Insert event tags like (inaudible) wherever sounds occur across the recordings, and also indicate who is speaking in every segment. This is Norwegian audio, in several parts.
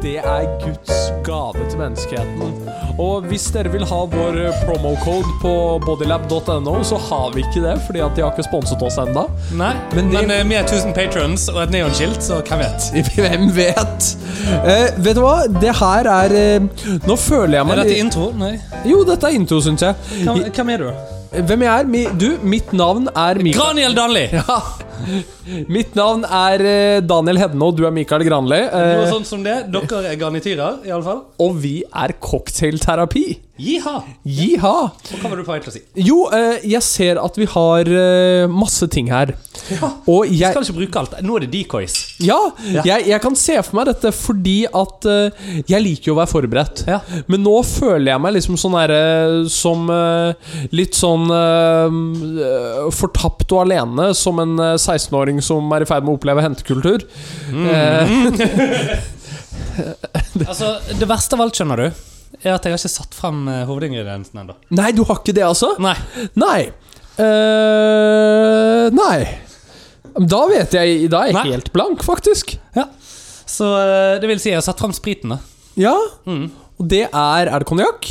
Speaker 1: det er Guds gave til menneskeheten. Og hvis dere vil ha vår promocode på bodylab.no, så har vi ikke det, fordi at de har ikke sponset oss ennå.
Speaker 2: Nei,
Speaker 1: Men
Speaker 2: men,
Speaker 1: det-
Speaker 2: eh, vi er 1000 patrons og et neonskilt, så hvem vet?
Speaker 1: (laughs) Hvem vet? Eh, vet du hva? Det her er eh, Nå føler jeg meg
Speaker 2: Er dette
Speaker 1: litt-
Speaker 2: intro? Nei.
Speaker 1: Jo, dette er intro, syns jeg.
Speaker 2: Hvem, hvem er du?
Speaker 1: Hvem jeg er? Mi, du, mitt navn er Mikael.
Speaker 2: Graniel Danli!
Speaker 1: (laughs) Ja. Mitt navn er eh, Daniel Hedne, og du er Mikael Granli.
Speaker 2: Noe
Speaker 1: Eh,
Speaker 2: sånt som det. Dere er garnityrer, iallfall.
Speaker 1: og vi er cocktailterapi.
Speaker 2: Jiha!
Speaker 1: Jiha!
Speaker 2: Og hva var du på vei til å si?
Speaker 1: Jo, eh, jeg ser at vi har eh, masse ting her. Og jeg
Speaker 2: Skal ikke bruke alt. Nå er det decoys.
Speaker 1: Ja, jeg, jeg kan se for meg dette fordi at eh, jeg liker jo å være forberedt.
Speaker 2: Ja.
Speaker 1: Men nå føler jeg meg liksom sånn herre som eh, Litt sånn eh, eh, fortapt og alene, som en eh, 16-åring som er i ferd med å oppleve hentekultur. Eh,
Speaker 2: Altså, Det verste av alt, skjønner du, er at jeg har ikke satt frem eh, hovedingrediensen ennå.
Speaker 1: nei, du har ikke det, altså?
Speaker 2: Nei.
Speaker 1: Nei. Eh, nei. Da vet jeg Da er jeg
Speaker 2: Nei.
Speaker 1: helt blank, faktisk.
Speaker 2: Ja. Så eh, det vil si, jeg har satt frem spriten, da.
Speaker 1: Ja.
Speaker 2: Mm.
Speaker 1: Og det er Er det konjakk?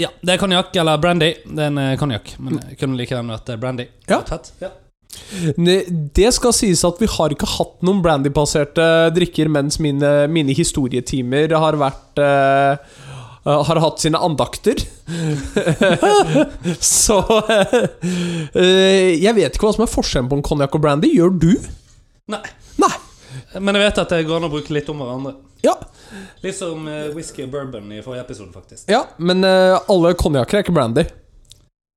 Speaker 2: Ja, det er konjakk eller brandy. Det er en eh, konjakk, men jeg kunne like gjerne vært eh, brandy.
Speaker 1: Ja.
Speaker 2: Tett. ja.
Speaker 1: Ne- Det skal sies at vi har ikke hatt noen brandy-baserte drikker mens mine, mine historietimer har vært eh, eh, Har hatt sine andakter. (laughs) Så eh, Jeg vet ikke hva som er forskjellen på en konjakk og brandy. Gjør du?
Speaker 2: Nei.
Speaker 1: Nei.
Speaker 2: Men jeg vet at det går an å bruke litt om hverandre.
Speaker 1: Ja.
Speaker 2: Litt som eh, whisky og bourbon i forrige episode, faktisk.
Speaker 1: ja men eh, alle konjakker er ikke brandy.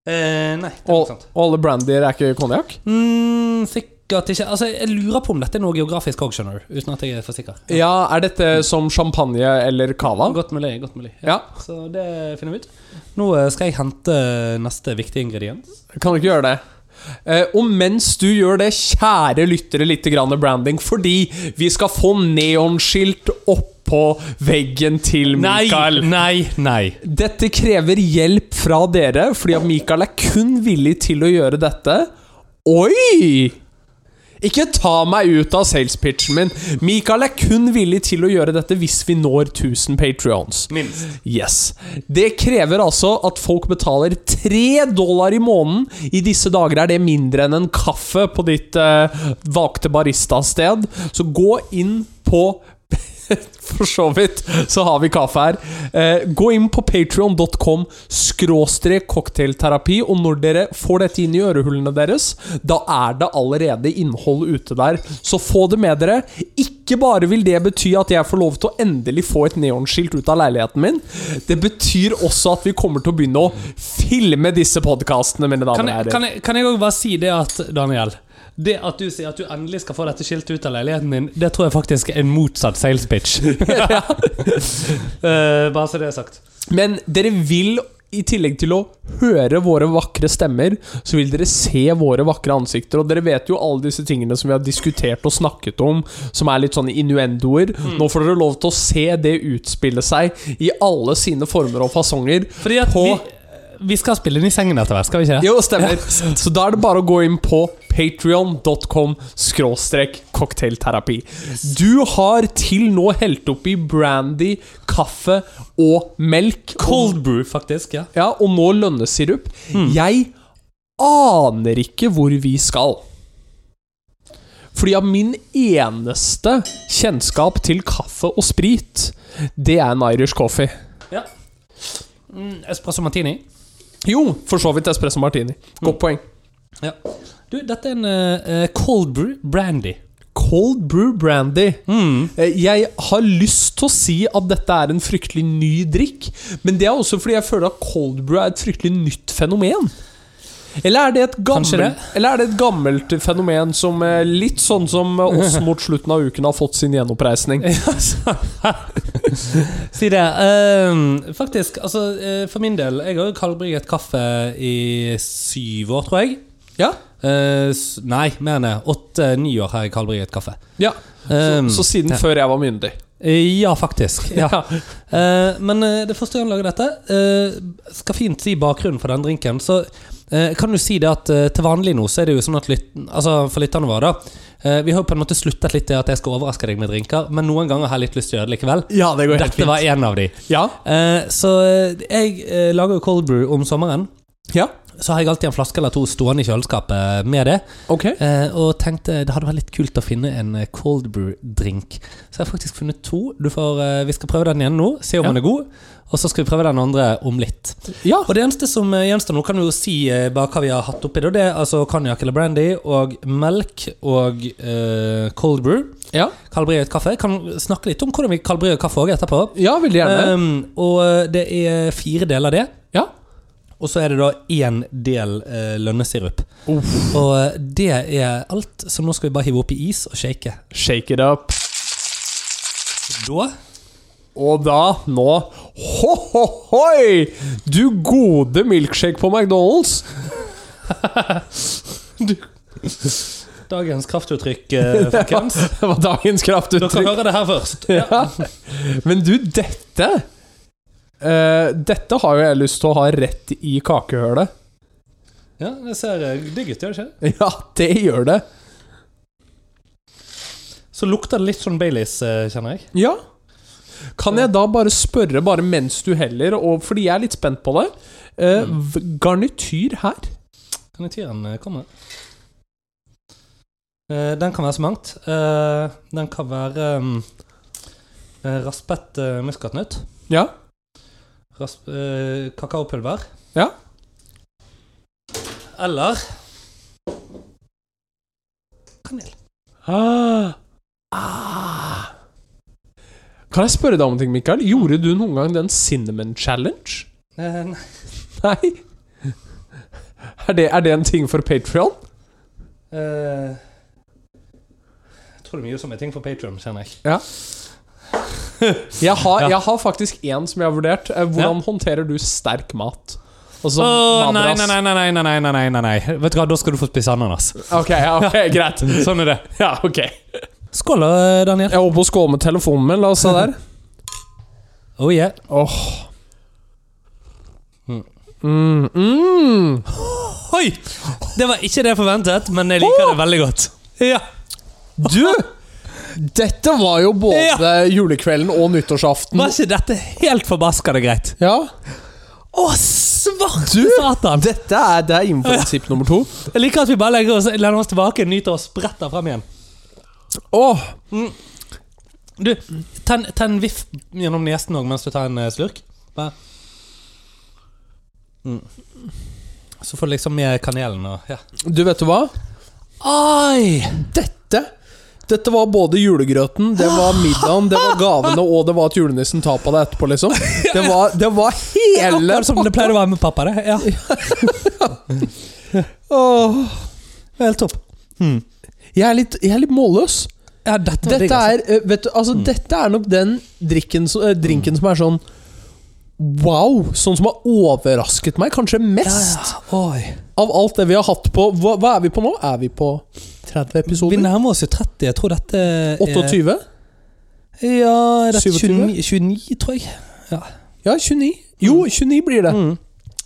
Speaker 2: Eh, nei, det er
Speaker 1: Og,
Speaker 2: ikke sant.
Speaker 1: og alle brandyer er ikke konjakk.
Speaker 2: Mm, sikkert ikke. Altså, jeg lurer på om dette er noe geografisk òg, skjønner du. Uten at jeg er for sikker.
Speaker 1: Ja, er dette som champagne eller cava?
Speaker 2: Godt mulig. godt mulig
Speaker 1: Ja.
Speaker 2: Så det finner vi ut. Nå eh, skal jeg hente eh, neste viktige ingrediens.
Speaker 1: Kan du ikke gjøre det? Eh, og mens du gjør det, kjære lyttere, litt grann branding, fordi vi skal få neonskilt oppå veggen til Mikael.
Speaker 2: nei, nei.
Speaker 1: Dette krever hjelp fra dere, fordi at Mikael er kun villig til å gjøre dette. Oi! Ikke ta meg ut av salespitchen min. Mikael er kun villig til å gjøre dette hvis vi når 1000 patrions.
Speaker 2: Minst.
Speaker 1: Yes. Det krever altså at folk betaler tre dollar i måneden. I disse dager er det mindre enn en kaffe på ditt eh, valgte baristasted. Så gå inn på (laughs) For så vidt så har vi kaffe her. Eh, gå inn på patreon.com skråstrek cocktailterapi, og når dere får dette inn i ørehullene deres, da er det allerede innhold ute der. Så få det med dere. Ikke bare vil det bety at jeg får lov til å endelig få et neonskilt ut av leiligheten min, det betyr også at vi kommer til å begynne å filme disse podkastene, mine
Speaker 2: Kan
Speaker 1: damer og
Speaker 2: jeg-
Speaker 1: herrer.
Speaker 2: kan jeg- kan jeg òg bare si det at, Daniel det at du sier at du endelig skal få dette skiltet ut av leiligheten din, det tror jeg faktisk er en motsatt sales (laughs) pitch. Eh, bare så det er sagt.
Speaker 1: Men dere vil i tillegg til å høre våre vakre stemmer, så vil dere se våre vakre ansikter. Og dere vet jo alle disse tingene som vi har diskutert og snakket om, som er litt sånne innuendoer.
Speaker 2: Mm.
Speaker 1: Nå får dere lov til å se det utspille seg i alle sine former og fasonger.
Speaker 2: Fordi at
Speaker 1: På-
Speaker 2: vi, vi skal spille den i sengen etter hvert, skal vi ikke det?
Speaker 1: Jo, stemmer. Så da er det bare å gå inn på patreon.com skråstrek cocktailterapi. Du har til nå helt oppi brandy, kaffe og melk.
Speaker 2: Cold brew, faktisk. ja
Speaker 1: Ja, og nå lønnesirup. Jeg aner ikke hvor vi skal. Fordi at min eneste kjennskap til kaffe og sprit, det er en Irish coffee.
Speaker 2: Ja. Mm, Espresso martini.
Speaker 1: Jo, for så vidt espresso martini. Godt poeng.
Speaker 2: Ja. Du, dette er en eh, eh, cold brew brandy.
Speaker 1: Cold brew brandy. Eh, Jeg har lyst til å si at dette er en fryktelig ny drikk, men det er også fordi jeg føler at cold brew er et fryktelig nytt fenomen. Eller er det et gammelt,
Speaker 2: Kanskje det?
Speaker 1: Eller er det et gammelt fenomen som eh, litt sånn som eh, (laughs) oss mot slutten av uken har fått sin gjenoppreisning?
Speaker 2: (laughs) si det. Ehm, faktisk, altså eh, for min del Jeg har jo kaldbrygget kaffe i syv år, tror jeg.
Speaker 1: Ja.
Speaker 2: Eh, s- nei, mer enn det. Åtte-ni år har jeg kaldbrygget kaffe.
Speaker 1: ja.
Speaker 2: Ehm,
Speaker 1: Så siden før jeg var myndig.
Speaker 2: eh, ja, faktisk. Ja. Eh, men eh, det første gang jeg lager dette eh, Skal fint si bakgrunnen for den drinken. Så Eh, kan du si det at eh, til vanlig nå så er det jo sånn at lyt, altså for lytterne våre da, eh, Vi har jo på en måte sluttet litt til at jeg skal overraske deg med drinker, men noen ganger har jeg litt lyst til å gjøre det likevel.
Speaker 1: Ja, det går helt
Speaker 2: Dette
Speaker 1: fint.
Speaker 2: var en av de.
Speaker 1: Ja.
Speaker 2: Eh, så eh, jeg eh, lager jo cold brew om sommeren.
Speaker 1: ja.
Speaker 2: Så har jeg alltid en flaske eller to stående i kjøleskapet med det.
Speaker 1: Ok.
Speaker 2: Eh, og tenkte det hadde vært litt kult å finne en eh, cold brew-drink. Så jeg har faktisk funnet to. Du får, eh, vi skal prøve den igjen nå, se om
Speaker 1: Ja.
Speaker 2: den er god. Og så skal vi prøve den andre om litt.
Speaker 1: Ja.
Speaker 2: Og det eneste som eh, gjenstår nå, kan vi jo si eh, bare hva vi har hatt oppi det. og Det er altså konjakk eller brandy og melk og eh, cold brew.
Speaker 1: Ja.
Speaker 2: Kalibrert kaffe. Jeg kan snakke litt om hvordan vi kalibrerer kaffe òg etterpå.
Speaker 1: ja, veldig gjerne.
Speaker 2: Um, og eh, det er fire deler det.
Speaker 1: Ja.
Speaker 2: Og så er det da én del eh, lønnesirup. Og eh, det er alt, så nå skal vi bare hive oppi is og shake.
Speaker 1: Shake it up.
Speaker 2: Da
Speaker 1: Og da, nå ho, ho, Hoi! Du gode milkshake på McDonald's.
Speaker 2: Dagens kraftuttrykk, (laughs) eh, folkens.
Speaker 1: (laughs) Det var dagens
Speaker 2: Dere
Speaker 1: kraftuttrykk.
Speaker 2: hører det her først.
Speaker 1: Ja. Men du, dette eh, Dette har jo jeg lyst til å ha rett i kakehølet.
Speaker 2: Ja, det ser eh, digg ut, gjør det ikke?
Speaker 1: Ja, det gjør det.
Speaker 2: Så lukter det litt sånn Baileys, eh, kjenner jeg.
Speaker 1: Ja. Kan jeg da bare spørre, bare mens du heller, og fordi jeg er litt spent på det eh, v- Garnityr her?
Speaker 2: Kan jeg tyren eh, komme? Eh, Den kan være så mangt. Eh, Den kan være mm, eh, raspet eh, muskatnøtt.
Speaker 1: Ja.
Speaker 2: Rasp, eh, kakaopulver.
Speaker 1: Ja.
Speaker 2: Eller kanel.
Speaker 1: Ah. Ah. Kan jeg spørre deg om en ting, Mikael? Gjorde du noen gang den cinnamon challenge?
Speaker 2: Eh, nei,
Speaker 1: Nei? Er det, er det en ting for Patrion?
Speaker 2: eh, jeg tror det er mye som er ting for Patreon, kjenner jeg.
Speaker 1: Jeg har,
Speaker 2: Ja.
Speaker 1: jeg har faktisk én som jeg har vurdert. Eh, Hvordan håndterer du sterk mat? Altså madras.
Speaker 2: nei, nei, nei, nei, nei, nei, nei. Vet du hva, da skal du få spise ananas.
Speaker 1: Ok, ja,
Speaker 2: (laughs)
Speaker 1: ok, greit.
Speaker 2: Sånn er det.
Speaker 1: Ja, ok.
Speaker 2: Skål, Daniel.
Speaker 1: Jeg holdt på å skåle med telefonen min. La oss se der.
Speaker 2: Oh yeah.
Speaker 1: Åh Mm, mm.
Speaker 2: Oi! Det var ikke det jeg forventet, men jeg liker det veldig godt. Ja.
Speaker 1: Du! Dette var jo både julekvelden og nyttårsaften.
Speaker 2: Var ikke dette helt forbaskende greit?
Speaker 1: Ja.
Speaker 2: Å, svart
Speaker 1: Du,
Speaker 2: satan!
Speaker 1: Dette er, det er innfallsprinsipp nummer to.
Speaker 2: Jeg liker at vi bare legger oss, lener oss tilbake, nyter og spretter frem igjen.
Speaker 1: Åh,
Speaker 2: Du, ta en- ta en viff gjennom nesen òg mens du tar en eh, slurk. Bare. Mm. Så får du liksom med kanelen og ja.
Speaker 1: du vet du hva?
Speaker 2: Oi!
Speaker 1: Dette Dette var både julegrøten, det var middagen, det var gavene, og det var at julenissen tar på deg etterpå, liksom. Det var, det var hele
Speaker 2: Akkurat som det pleide å være med pappa, det. Ja.
Speaker 1: Åh,
Speaker 2: Helt topp.
Speaker 1: Hmm. jeg, er litt, jeg er litt målløs.
Speaker 2: Ja, dette var digg,
Speaker 1: Dette
Speaker 2: altså.
Speaker 1: er, eh, vet du, altså, dette er nok den drikken, som- eh, drinken som er sånn Wow! Sånn som har overrasket meg kanskje mest
Speaker 2: ja, ja. Oi.
Speaker 1: av alt det vi har hatt på Hva, hva er vi på nå? Er vi på 30
Speaker 2: Vi
Speaker 1: episoder?
Speaker 2: nærmer oss jo 30. Jeg tror dette er
Speaker 1: 28?
Speaker 2: Ja, er dette
Speaker 1: 27?
Speaker 2: 29, 29, tror jeg.
Speaker 1: Ja, 29. Jo, 29 blir det.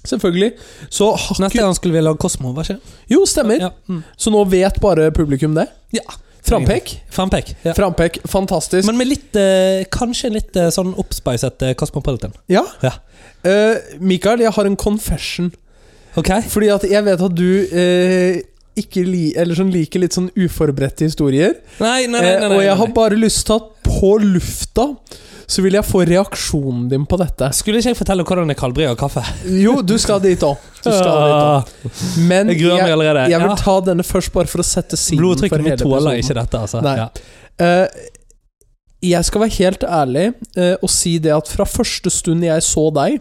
Speaker 1: Selvfølgelig. Så
Speaker 2: Mm.
Speaker 1: har
Speaker 2: Neste
Speaker 1: ikke
Speaker 2: gang skulle vi lage Kosmo, var ikke det?
Speaker 1: Jo, stemmer.
Speaker 2: Ja. Mm.
Speaker 1: Så nå vet bare publikum det.
Speaker 2: ja.
Speaker 1: Frampek.
Speaker 2: Frampek. Ja.
Speaker 1: Frampek, fantastisk.
Speaker 2: Men med litt eh, Kanskje en litt eh, sånn oppspicet eh, Cosmopolitan.
Speaker 1: ja.
Speaker 2: Ja.
Speaker 1: Eh, Mikael, jeg har en confession.
Speaker 2: Ok?
Speaker 1: Fordi at jeg vet at du eh, ikke li eller sånn liker litt sånn uforberedte historier.
Speaker 2: Nei, nei, nei.
Speaker 1: Eh,
Speaker 2: nei,
Speaker 1: og
Speaker 2: nei,
Speaker 1: jeg
Speaker 2: nei.
Speaker 1: har bare lyst til at på lufta så vil jeg få reaksjonen din på dette.
Speaker 2: Skulle ikke jeg fortelle hvordan jeg kaldbryr kaffe?
Speaker 1: Jo, du skal dit òg. Du skal dit òg.
Speaker 2: Ah,
Speaker 1: Men
Speaker 2: Jeg gruer meg
Speaker 1: jeg,
Speaker 2: allerede.
Speaker 1: jeg vil
Speaker 2: Ja.
Speaker 1: ta denne først, bare for å sette siden for
Speaker 2: Blodtrykket
Speaker 1: hele
Speaker 2: mitt tåler
Speaker 1: episoden.
Speaker 2: ikke dette, altså.
Speaker 1: Nei.
Speaker 2: Ja.
Speaker 1: Eh, jeg skal være helt ærlig eh, og si det at fra første stund jeg så deg,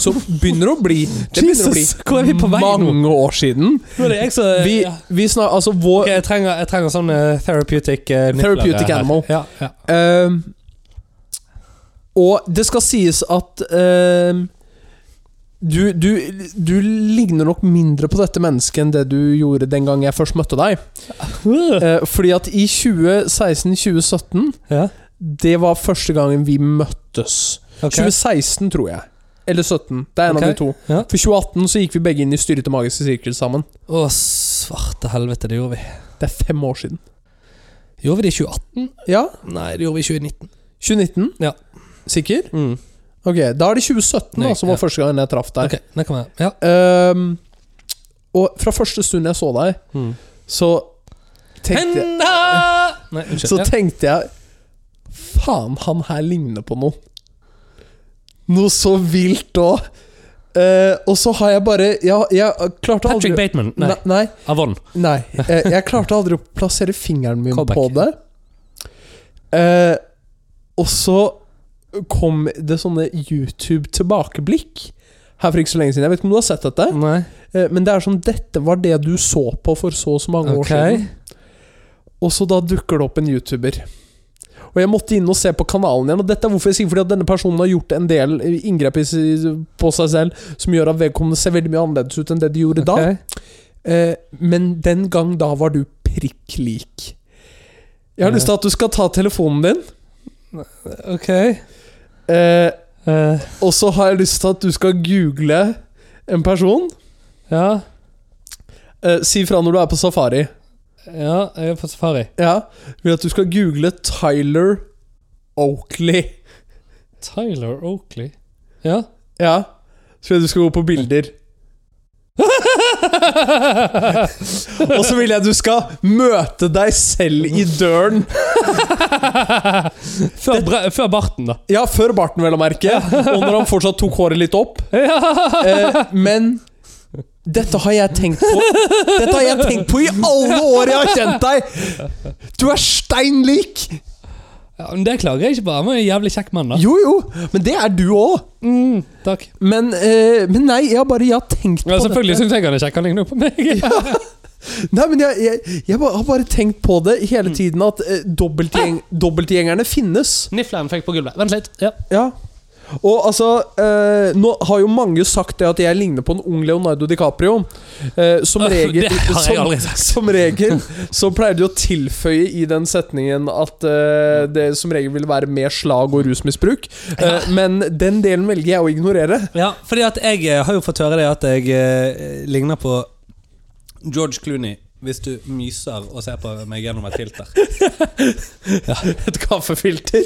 Speaker 1: så begynner det å bli Det begynner å bli
Speaker 2: Jesus, hvor er vi på vei nå?
Speaker 1: mange år siden.
Speaker 2: Nå er det jeg som
Speaker 1: Vi,
Speaker 2: ja.
Speaker 1: vi snak, altså vår
Speaker 2: Ok, jeg, trenger, jeg trenger sånn eh, therapeutic uh,
Speaker 1: Therapeutic animal.
Speaker 2: Ja, ja.
Speaker 1: eh, Og det skal sies at eh, du, du, du ligner nok mindre på dette mennesket enn det du gjorde den gang jeg først møtte
Speaker 2: (laughs)
Speaker 1: deg. Eh, fordi at i 2016-2017
Speaker 2: ja.
Speaker 1: Det var første gangen vi møttes.
Speaker 2: ok.
Speaker 1: 2016, tror jeg. eller 17. Det er en
Speaker 2: Ok.
Speaker 1: av de to.
Speaker 2: Ja.
Speaker 1: For 2018 så gikk vi begge inn i Styrete magiske sirkel sammen.
Speaker 2: Å, svarte helvete, det gjorde vi.
Speaker 1: Det er fem år siden.
Speaker 2: Gjorde vi det i 2018?
Speaker 1: Ja.
Speaker 2: Nei, det gjorde vi i 2019.
Speaker 1: 2019?
Speaker 2: Mm. Ja. Mm.
Speaker 1: Sikker? Ok, da er det 2017 da,
Speaker 2: Nei,
Speaker 1: som var
Speaker 2: ja.
Speaker 1: første gangen jeg traff deg.
Speaker 2: Ok, det kan være. Ja.
Speaker 1: Ehm, og fra første stund jeg så deg,
Speaker 2: Mm.
Speaker 1: så tenkte jeg,
Speaker 2: Henda! Nei, unnskyld.
Speaker 1: så
Speaker 2: Ja.
Speaker 1: tenkte jeg Faen, han her ligner på noe. Noe så vilt òg. og så har jeg bare Jeg, jeg klarte aldri
Speaker 2: Patrick Bateman. Nei,
Speaker 1: Nei, nei,
Speaker 2: Avon.
Speaker 1: Nei, jeg, jeg klarte aldri å plassere fingeren min
Speaker 2: Callback.
Speaker 1: på det. Eh, og så kom det sånne YouTube-tilbakeblikk her for ikke så lenge siden. Jeg vet ikke om du har sett dette,
Speaker 2: Nei.
Speaker 1: eh, men det er sånn dette var det du så på for så og så mange
Speaker 2: Ok.
Speaker 1: år siden. Og så da dukker det opp en YouTuber. Og jeg måtte inn og se på kanalen igjen. Og dette er hvorfor jeg sier fordi at denne personen har gjort en del inngrep i si- på seg selv som gjør at vedkommende ser veldig mye annerledes ut enn det de gjorde da.
Speaker 2: Ok.
Speaker 1: Eh, men den gang da var du prikk lik. Jeg har
Speaker 2: Ja.
Speaker 1: lyst til at du skal ta telefonen din,
Speaker 2: Ok.
Speaker 1: eh,
Speaker 2: Eh,
Speaker 1: og så har jeg lyst til at du skal google en person.
Speaker 2: ja.
Speaker 1: Eh, si fra når du er på safari.
Speaker 2: Ja, jeg er på safari.
Speaker 1: Ja. Jeg vil at du skal google Tyler Oakley.
Speaker 2: Tyler Oakley. Ja. (laughs)
Speaker 1: Ja. Så vil jeg du skal gå på bilder. (laughs) Og så vil jeg du skal møte deg selv i døren.
Speaker 2: før, bre- før barten, da.
Speaker 1: Ja, før barten, vel å merke. Og når han fortsatt tok håret litt opp. Eh, men dette har jeg tenkt på Dette har jeg tenkt på i alle år jeg har kjent deg! Du er stein lik!
Speaker 2: Ja, men Det klager jeg ikke på. Han var en jævlig kjekk mann, da.
Speaker 1: Jo, jo, men det er du òg.
Speaker 2: Mm, takk.
Speaker 1: Men, eh, men nei, jeg har bare jeg har tenkt på
Speaker 2: Ja, selvfølgelig
Speaker 1: dette.
Speaker 2: syns jeg han er kjekk. Han ligner jo på (laughs) meg.
Speaker 1: Nei, men jeg, jeg, jeg ba- har bare tenkt på det hele
Speaker 2: Mm.
Speaker 1: tiden, at eh, dobbeltgjeng, dobbeltgjengerne finnes.
Speaker 2: Nifleren fikk på gulvet. Vent litt. Ja.
Speaker 1: Ja. Og altså eh, Nå har jo mange sagt det at jeg ligner på en ung Leonardo DiCaprio. Eh, som
Speaker 2: (laughs)
Speaker 1: regel
Speaker 2: Det har jeg aldri
Speaker 1: som,
Speaker 2: sagt.
Speaker 1: som regel så pleier de å tilføye i den setningen at eh, det som regel vil være mer slag og rusmisbruk. Eh, men den delen velger jeg å ignorere.
Speaker 2: Ja, fordi at jeg eh, har jo fått høre det at jeg eh, ligner på George Clooney hvis du myser og ser på meg gjennom et filter.
Speaker 1: Et kaffefilter.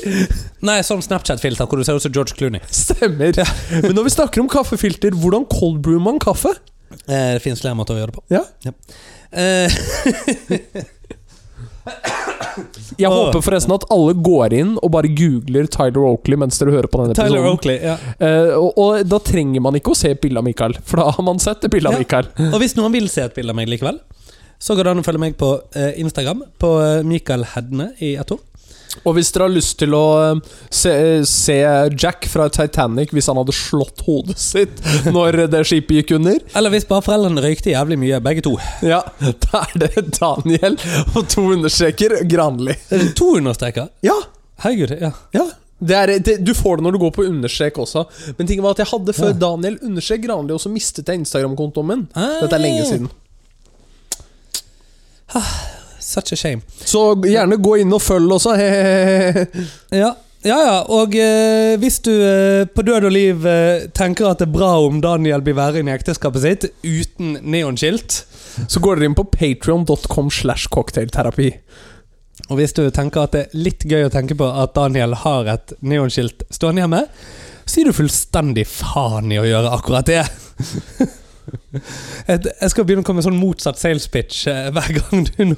Speaker 2: Nei, sånn Snapchat-filter hvor du ser ut som George Clooney.
Speaker 1: Stemmer. Men når vi snakker om kaffefilter, hvordan cold brewer man kaffe?
Speaker 2: Eh, det finnes flere måter å gjøre det på.
Speaker 1: Ja.
Speaker 2: Eh, (laughs)
Speaker 1: Jeg
Speaker 2: Åh.
Speaker 1: håper forresten at alle går inn og bare googler Tyler Oakley mens dere hører på denne episoden.
Speaker 2: Tyler Oakley. Ja.
Speaker 1: Eh, og, og da trenger man ikke å se et bilde av Mikael, for da har man sett et bilde av
Speaker 2: Ja.
Speaker 1: Mikael.
Speaker 2: Og hvis noen vil se et bilde av meg likevel, så går det an å følge meg på eh, Instagram. På eh, Mikael Hedne i ett ord.
Speaker 1: Og hvis dere har lyst til å eh, se, se Jack fra Titanic hvis han hadde slått hodet sitt når det skipet gikk under,
Speaker 2: Eller hvis bare foreldrene røykte jævlig mye, begge to.
Speaker 1: ja, da er det Daniel og to understreker Granli.
Speaker 2: Er det Eh, To understreker.
Speaker 1: Ja,
Speaker 2: Herregud. ja
Speaker 1: ja. Det er, det, du får det når du går på understrek også. Men tingen var at jeg hadde før
Speaker 2: Ja.
Speaker 1: Daniel understrek Granli, og så mistet jeg Instagram-kontoen min. Dette er lenge siden.
Speaker 2: Such a shame.
Speaker 1: Så gjerne gå inn og følg også.
Speaker 2: Ja, ja, ja. og eh, hvis du eh, på død og liv eh, tenker at det er bra om Daniel blir værende i ekteskapet sitt uten neonskilt,
Speaker 1: Så går dere inn på patreon.com slash cocktailterapi.
Speaker 2: og hvis du tenker at det er litt gøy å tenke på at Daniel har et neonskilt stående hjemme, så gir du fullstendig faen i å gjøre akkurat det. (laughs) Et, jeg skal begynne å komme med sånn motsatt sales pitch eh, hver gang du nå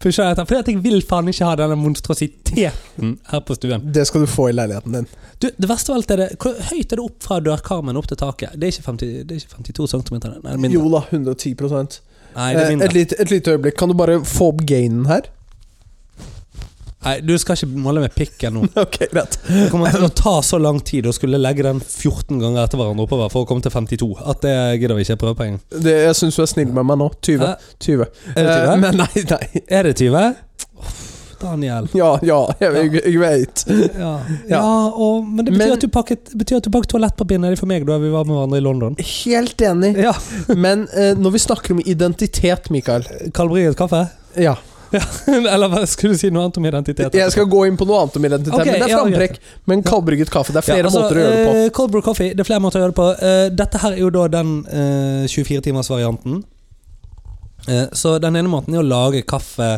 Speaker 2: pusher etter. Fordi at jeg vil faen ikke ha denne monstrositeten her på stuen.
Speaker 1: Det skal du få i leiligheten din.
Speaker 2: Du, det verste av alt er det Hvor høyt er det opp fra dørkarmen opp til taket? Det er ikke, 50, det er ikke 52 cm. Nei, det er mindre.
Speaker 1: Jo da, 110
Speaker 2: Nei, det
Speaker 1: Eh,
Speaker 2: er
Speaker 1: et,
Speaker 2: mindre.
Speaker 1: lite, et lite øyeblikk. Kan du bare få opp gainen her?
Speaker 2: Nei, du skal ikke måle med pikken nå.
Speaker 1: (laughs) Ok, greit.
Speaker 2: Det kommer til å ta så lang tid å skulle legge den 14 ganger etter hverandre oppover for å komme til 52 at det gidder vi ikke prøve på en gang.
Speaker 1: Det, jeg syns du er snill med meg nå. 20.
Speaker 2: Eh,
Speaker 1: 20.
Speaker 2: Er det
Speaker 1: Eh,
Speaker 2: 20?
Speaker 1: men nei, nei. (laughs)
Speaker 2: Er det 20? Uff, Daniel.
Speaker 1: Ja, ja, jeg, jeg, jeg vet.
Speaker 2: Ja,
Speaker 1: (laughs)
Speaker 2: ja og, men det betyr,
Speaker 1: Men-
Speaker 2: at du pakket, betyr at du pakket toalettpapiret nedi for meg da vi var med hverandre i London.
Speaker 1: Helt enig.
Speaker 2: Ja.
Speaker 1: Men eh, når vi snakker om identitet, Mikael
Speaker 2: Kalveriet kaffe? (laughs)
Speaker 1: Ja.
Speaker 2: Eller hva skulle du si noe annet om identitet?
Speaker 1: Jeg skal gå inn på noe annet om identitet,
Speaker 2: Ok,
Speaker 1: men det er
Speaker 2: ja,
Speaker 1: framprekk. Men kaldbrygget kaffe. Det er flere
Speaker 2: Ja, altså,
Speaker 1: måter å gjøre det på.
Speaker 2: eh, Cold brew coffee, det er flere måter å gjøre det på. Eh, dette her er jo da den 24-timersvarianten. Eh, så den ene måten er å lage kaffe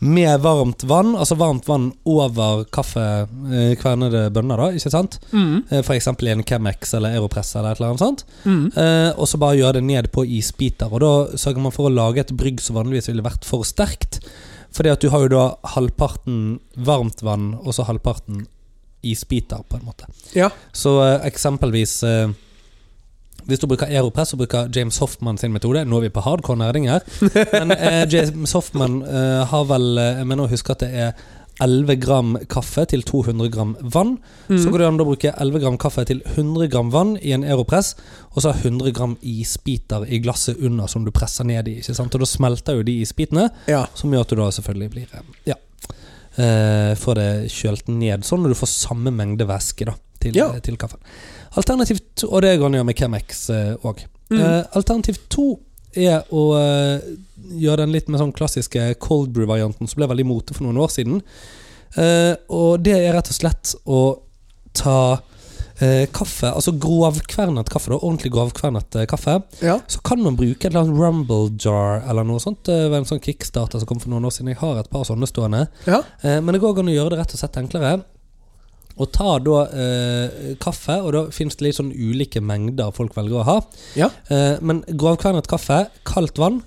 Speaker 2: med varmt vann, altså varmt vann over kaffe, eh, kvernede bønner, da, ikke sant?
Speaker 1: Mm,
Speaker 2: Eh, For eksempel i en Chemex eller Aeropress eller et eller annet sånt.
Speaker 1: mm.
Speaker 2: Eh, og så bare gjøre det ned på isbiter. Og da sørger man for å lage et brygg som vanligvis ville vært for sterkt. Fordi at du har jo da halvparten varmt vann, og så halvparten isbiter, på en måte.
Speaker 1: Ja.
Speaker 2: Så eh, eksempelvis eh, Hvis du bruker Aeropress, så bruker James Hoffman sin metode. Nå er vi på hardcore nerding her. Men eh, James Hoffman eh, har vel eh, Jeg mener å huske at det er 11 gram kaffe til 200 gram vann.
Speaker 1: Mm.
Speaker 2: Så går det an å bruke 11 gram kaffe til 100 gram vann i en Aeropress, og så har 100 gram isbiter i glasset under som du presser ned i. ikke sant? Og da smelter jo de isbitene,
Speaker 1: ja.
Speaker 2: som gjør at du da selvfølgelig blir eh, Ja. eh, får det kjølt ned sånn, og du får samme mengde væske da, til, eh,
Speaker 1: Ja.
Speaker 2: til kaffen. Alternativt, og det går an å gjøre med Chemex òg.
Speaker 1: Mm.
Speaker 2: alternativ to er å eh, gjøre den litt med sånn klassiske cold brew-varianten som ble veldig mote for noen år siden. Eh, og det er rett og slett å ta eh, kaffe, altså grovkvernet kaffe, da, ordentlig grovkvernet eh, kaffe.
Speaker 1: ja.
Speaker 2: Så kan man bruke et eller annet rumble jar eller noe sånt. Det var en sånn kickstarter som kom for noen år siden. Jeg har et par sånne stående.
Speaker 1: Ja.
Speaker 2: Eh, Men det går an å gjøre det rett og slett enklere. Og ta da eh, kaffe, og da fins det litt sånn ulike mengder folk velger å ha.
Speaker 1: Ja.
Speaker 2: Eh, men grovkvernet kaffe, kaldt vann,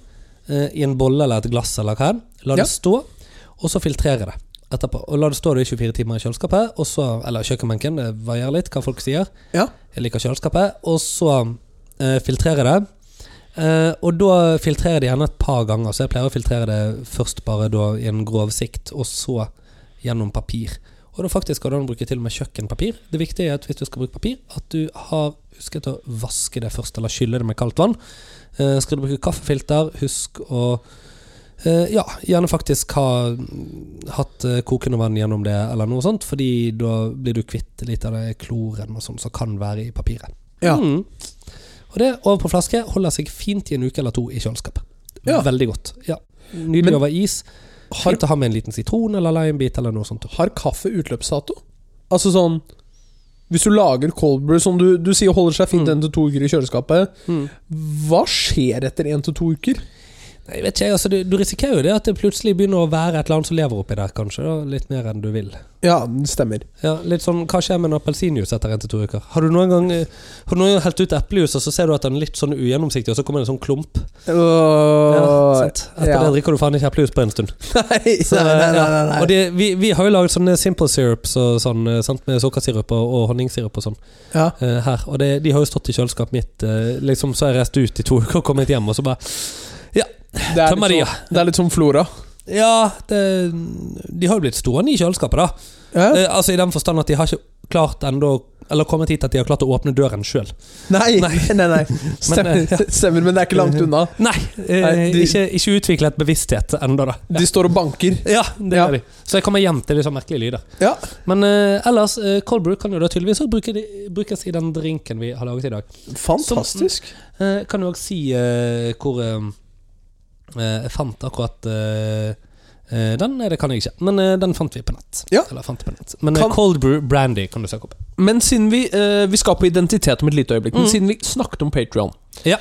Speaker 2: eh, i en bolle eller et glass eller hva enn. La
Speaker 1: Ja.
Speaker 2: det stå, og så filtrere det etterpå. Og la det stå da i 24 timer i kjøleskapet, og så, eller kjøkkenbenken, det varierer litt hva folk sier.
Speaker 1: Ja.
Speaker 2: Jeg liker kjøleskapet. Og så eh, filtrere det. Eh, og da filtrerer de gjerne et par ganger, så jeg pleier å filtrere det først bare da i en grov sikt, og så gjennom papir. Og da faktisk går det an å bruke til og med kjøkkenpapir. Det viktige er at hvis du skal bruke papir, at du har husket å vaske det først, eller skylle det med kaldt vann. Eh, skal du bruke kaffefilter, husk å eh, ja, gjerne faktisk ha mm, hatt eh, kokende vann gjennom det, eller noe sånt, fordi da blir du kvitt litt av det kloren og sånt som kan være i papiret.
Speaker 1: Ja.
Speaker 2: Mm. Og det over på flaske holder seg fint i en uke eller to i kjøleskapet.
Speaker 1: Ja.
Speaker 2: Veldig godt. Ja. Nydelig
Speaker 1: Men-
Speaker 2: over is.
Speaker 1: Har,
Speaker 2: Fint å ha med en liten sitron eller limebit eller noe sånt.
Speaker 1: har kaffe utløpsdato? Altså sånn Hvis du lager cold brew, som du, du sier holder seg fint
Speaker 2: Mm.
Speaker 1: én til to uker i kjøleskapet,
Speaker 2: Mm.
Speaker 1: hva skjer etter én til to uker?
Speaker 2: Nei, vet ikke, jeg, altså, du, du risikerer jo det at det plutselig begynner å være et eller annet som lever oppi der, kanskje. Da. Litt mer enn du vil.
Speaker 1: Ja, det stemmer.
Speaker 2: Ja, litt sånn, Hva skjer med en appelsinjuice etter en til to uker? Har du noen gang, eh, har du noen gang helt ut eplejuice, og så ser du at den er litt sånn ugjennomsiktig, og så kommer det en sånn klump? Ja, sant? Etter
Speaker 1: ja.
Speaker 2: det drikker du faen ikke eplejuice på en stund.
Speaker 1: (laughs) Nei,
Speaker 2: Så, eh,
Speaker 1: nei, nei, nei,
Speaker 2: ja.
Speaker 1: nei.
Speaker 2: Og det, vi, vi har jo laget sånne simple syrups og sånn, eh, sant? med sukkersirup og, og honningsirup og sånn
Speaker 1: ja.
Speaker 2: eh, her. Og det, de har jo stått i kjøleskapet mitt, eh, liksom, så har jeg reist ut i to (laughs) uker og kommet hjem, og så bare
Speaker 1: det, er
Speaker 2: Tømmer de,
Speaker 1: litt sånn, det er litt som flora.
Speaker 2: Ja, det, de har jo blitt stående i kjøleskapet, da.
Speaker 1: Ja.
Speaker 2: Eh, altså I den forstand at de har ikke klart enda Eller kommet hit at de har klart å åpne døren sjøl.
Speaker 1: Nei,
Speaker 2: Nei.
Speaker 1: nei, (laughs) nei. Stemmer,
Speaker 2: eh, ja.
Speaker 1: (laughs) stemmer, men det er ikke langt (laughs) unna.
Speaker 2: Nei, eh,
Speaker 1: Nei, de-
Speaker 2: ikke, ikke utviklet bevissthet ennå, da.
Speaker 1: De står og banker.
Speaker 2: Ja, det
Speaker 1: Ja.
Speaker 2: er de. Så jeg kommer hjem til litt sånn merkelige lyder.
Speaker 1: Ja.
Speaker 2: Men eh, ellers, eh, cold brew kan jo da tydeligvis også bruke, brukes i den drinken vi har laget i dag.
Speaker 1: Fantastisk.
Speaker 2: Eh, kan jo også si eh, hvor eh, eh, Jeg fant akkurat eh, eh, den Nei, det kan jeg ikke, men eh, den fant vi på nett.
Speaker 1: Ja.
Speaker 2: Eller fant på nett. Men eh,
Speaker 1: Kan-
Speaker 2: cold brew brandy kan du søke opp.
Speaker 1: Men siden vi eh, Vi skal på identitet om et lite øyeblikk, men
Speaker 2: Mm.
Speaker 1: siden vi snakket om Patrion,
Speaker 2: Ja.